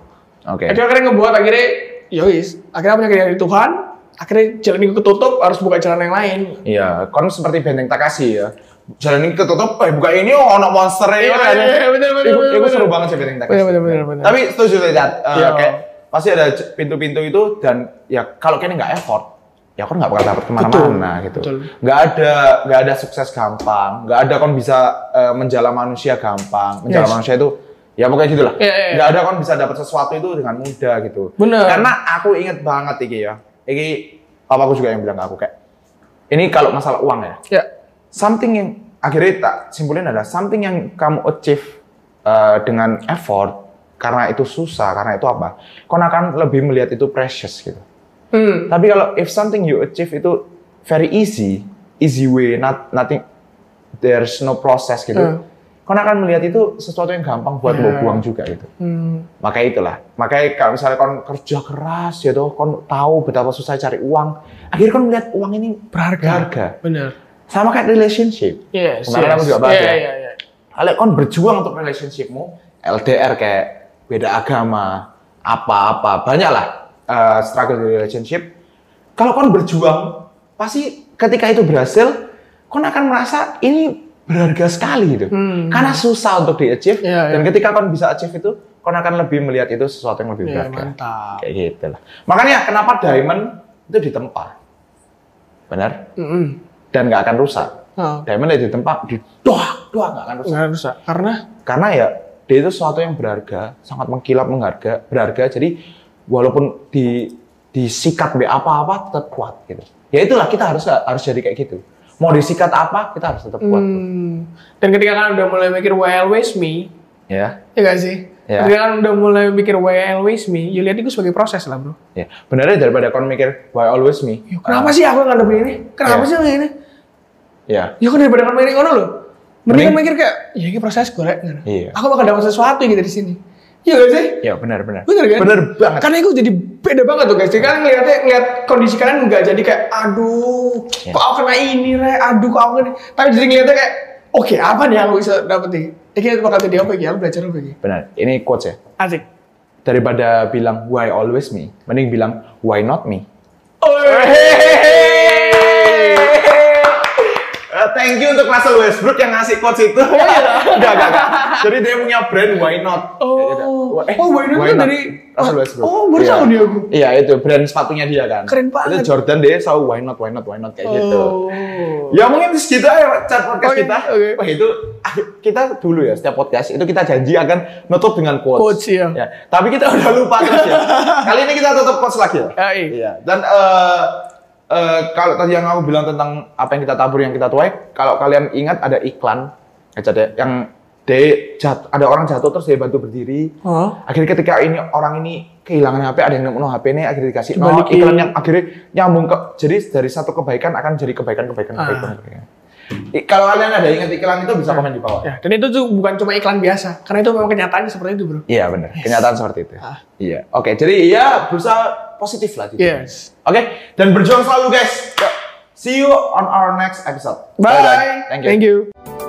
Speaker 2: Oke.
Speaker 3: Itu akhirnya ngebuat akhirnya yois, akhirnya menyakiti hati Tuhan, akhirnya jalan itu ketutup harus buka jalan yang lain.
Speaker 2: Iya, kon seperti benteng Takashi ya. Jalan ini ketutup, eh buka ini oh ono monster
Speaker 3: Iya, iya, iya, bener, bener, bener,
Speaker 2: Itu
Speaker 3: bener.
Speaker 2: seru banget sih benteng Takashi.
Speaker 3: Bener, bener, bener, bener.
Speaker 2: Tapi setuju tidak? Eh,
Speaker 3: Iya.
Speaker 2: kayak pasti ada j- pintu-pintu itu dan ya kalau kayaknya nggak effort, ya kon nggak bakal dapet kemana-mana
Speaker 3: Betul,
Speaker 2: gitu.
Speaker 3: betul.
Speaker 2: Nggak ada nggak ada sukses gampang, nggak ada kon bisa eh, menjala manusia gampang. Menjala
Speaker 3: Yes.
Speaker 2: manusia itu ya pokoknya gitulah.
Speaker 3: Iya, iya, iya.
Speaker 2: Nggak ada kon bisa dapat sesuatu itu dengan mudah gitu.
Speaker 3: Bener.
Speaker 2: Karena aku inget banget iki ya. Iki papaku juga yang bilang ke aku kayak ini kalau masalah uang ya
Speaker 3: Ya,
Speaker 2: something yang akhirnya tak simpulin adalah something yang kamu achieve uh, dengan effort karena itu susah karena itu apa kau akan lebih melihat itu precious gitu
Speaker 3: hmm,
Speaker 2: tapi kalau if something you achieve itu very easy easy way not nothing there's no process gitu
Speaker 3: Hmm.
Speaker 2: kau akan melihat itu sesuatu yang gampang buat lo
Speaker 3: Hmm.
Speaker 2: buang juga gitu
Speaker 3: hmm,
Speaker 2: Makanya itulah. Makanya kalau misalnya kon kerja keras ya toh, kon tahu betapa susah cari uang. Akhirnya kon melihat uang ini berharga.
Speaker 3: bener.
Speaker 2: Sama kayak relationship.
Speaker 3: Yes,
Speaker 2: Kemarin
Speaker 3: yes.
Speaker 2: aku juga bahas
Speaker 3: Iya,
Speaker 2: ya.
Speaker 3: iya, iya.
Speaker 2: Kalau kon berjuang untuk relationshipmu, LDR kayak beda agama, apa-apa, banyaklah eh, struggle di relationship. Kalau kon berjuang, pasti ketika itu berhasil, kon akan merasa ini berharga sekali gitu.
Speaker 3: Hmm.
Speaker 2: Karena susah untuk di achieve
Speaker 3: Iya,
Speaker 2: dan
Speaker 3: iya.
Speaker 2: ketika kon bisa achieve itu, kon akan lebih melihat itu sesuatu yang lebih
Speaker 3: Iya,
Speaker 2: berharga.
Speaker 3: mantap.
Speaker 2: Kayak gitu lah. Makanya kenapa diamond itu ditempa. Benar?
Speaker 3: Mm-mm.
Speaker 2: Dan nggak akan rusak.
Speaker 3: Nah,
Speaker 2: Diamond itu ditempa, didoak, doak nggak akan rusak.
Speaker 3: nggak rusak. Karena
Speaker 2: Karena ya dia itu sesuatu yang berharga, sangat mengkilap mengharga, berharga. Jadi walaupun di disikat be apa-apa tetap kuat gitu. Ya itulah kita harus harus jadi kayak gitu. Mau disikat apa kita harus tetap kuat.
Speaker 3: Hmm. Dan ketika kalian udah mulai mikir why always me,
Speaker 2: Ya.
Speaker 3: ya gak sih?
Speaker 2: Ya.
Speaker 3: Ketika kalian udah mulai mikir why always me, ya lihat itu sebagai proses lah bro.
Speaker 2: Ya, benarnya daripada kon mikir why always me.
Speaker 3: Yo, Ya, kenapa sih aku ngadepin ini?
Speaker 2: Ya.
Speaker 3: Kenapa sih aku ini?
Speaker 2: Ya.
Speaker 3: Ya kan daripada kan mikir ngono loh. Mending
Speaker 2: Mending-
Speaker 3: mikir kayak, ya ini proses gue rek. ngono.
Speaker 2: Iya.
Speaker 3: Aku bakal dapat sesuatu gitu di sini. Iya gak sih?
Speaker 2: Ya benar benar.
Speaker 3: Bener kan?
Speaker 2: Benar banget.
Speaker 3: Karena itu jadi beda banget tuh guys. Jadi kalian ngeliatnya ngeliat kondisi kalian nggak jadi kayak, aduh,
Speaker 2: Iya.
Speaker 3: kok aku kena ini rek, aduh kok aku kena ini. Tapi jadi ngeliatnya kayak, oke apa nih yang aku bisa dapet nih? Ini bakal jadi apa ya? Aku belajar apa ya?
Speaker 2: Benar. Ini quotes ya.
Speaker 3: Asik.
Speaker 2: daripada bilang why always me, mending bilang why not me. Eh, thank you untuk Russell Westbrook yang ngasih quotes itu. Enggak, enggak, enggak. Jadi dia punya brand Why Not.
Speaker 3: iya. Oh.
Speaker 2: Eh,
Speaker 3: Oh, Why Not itu dari-
Speaker 2: Russell Westbrook.
Speaker 3: Oh, baru tahu
Speaker 2: Iya.
Speaker 3: dia aku.
Speaker 2: Iya, itu brand sepatunya dia kan.
Speaker 3: Keren banget.
Speaker 2: Itu Jordan dia selalu Why Not, Why Not, Why Not kayak gitu.
Speaker 3: Oh.
Speaker 2: Ya mungkin segitu aja chat podcast
Speaker 3: Oke,
Speaker 2: kita.
Speaker 3: oke.
Speaker 2: Wah itu kita dulu ya setiap podcast itu kita janji akan nutup dengan quotes.
Speaker 3: Quotes, iya.
Speaker 2: Ya, tapi kita udah lupa terus ya. Kali ini kita tutup quotes lagi ya.
Speaker 3: Ya, iya.
Speaker 2: Dan eh, eh, kalau tadi yang aku bilang tentang apa yang kita tabur yang kita tuai, kalau kalian ingat ada iklan ya, Chat, ya, yang de jat, ada orang jatuh terus dia bantu berdiri.
Speaker 3: Hah?
Speaker 2: Akhirnya ketika ini orang ini kehilangan HP, ada yang nemu HP ini akhirnya dikasih no,
Speaker 3: Dibalikin.
Speaker 2: iklan yang akhirnya nyambung ke jadi dari satu kebaikan akan jadi kebaikan kebaikan
Speaker 3: Ah.
Speaker 2: kebaikan. kebaikan. I- Kalau kalian ada ingat iklan itu bisa komen di bawah.
Speaker 3: Ya, dan itu tuh bukan cuma iklan biasa, karena itu memang kenyataannya seperti itu, Bro.
Speaker 2: Iya benar, kenyataan seperti itu.
Speaker 3: Ah. Iya.
Speaker 2: Iya. Oke, jadi ya berusaha positif lah. gitu.
Speaker 3: Yes.
Speaker 2: Oke, dan berjuang selalu guys. See you on our next episode.
Speaker 3: Bye.
Speaker 2: Bye-bye. Thank you.
Speaker 3: Thank you.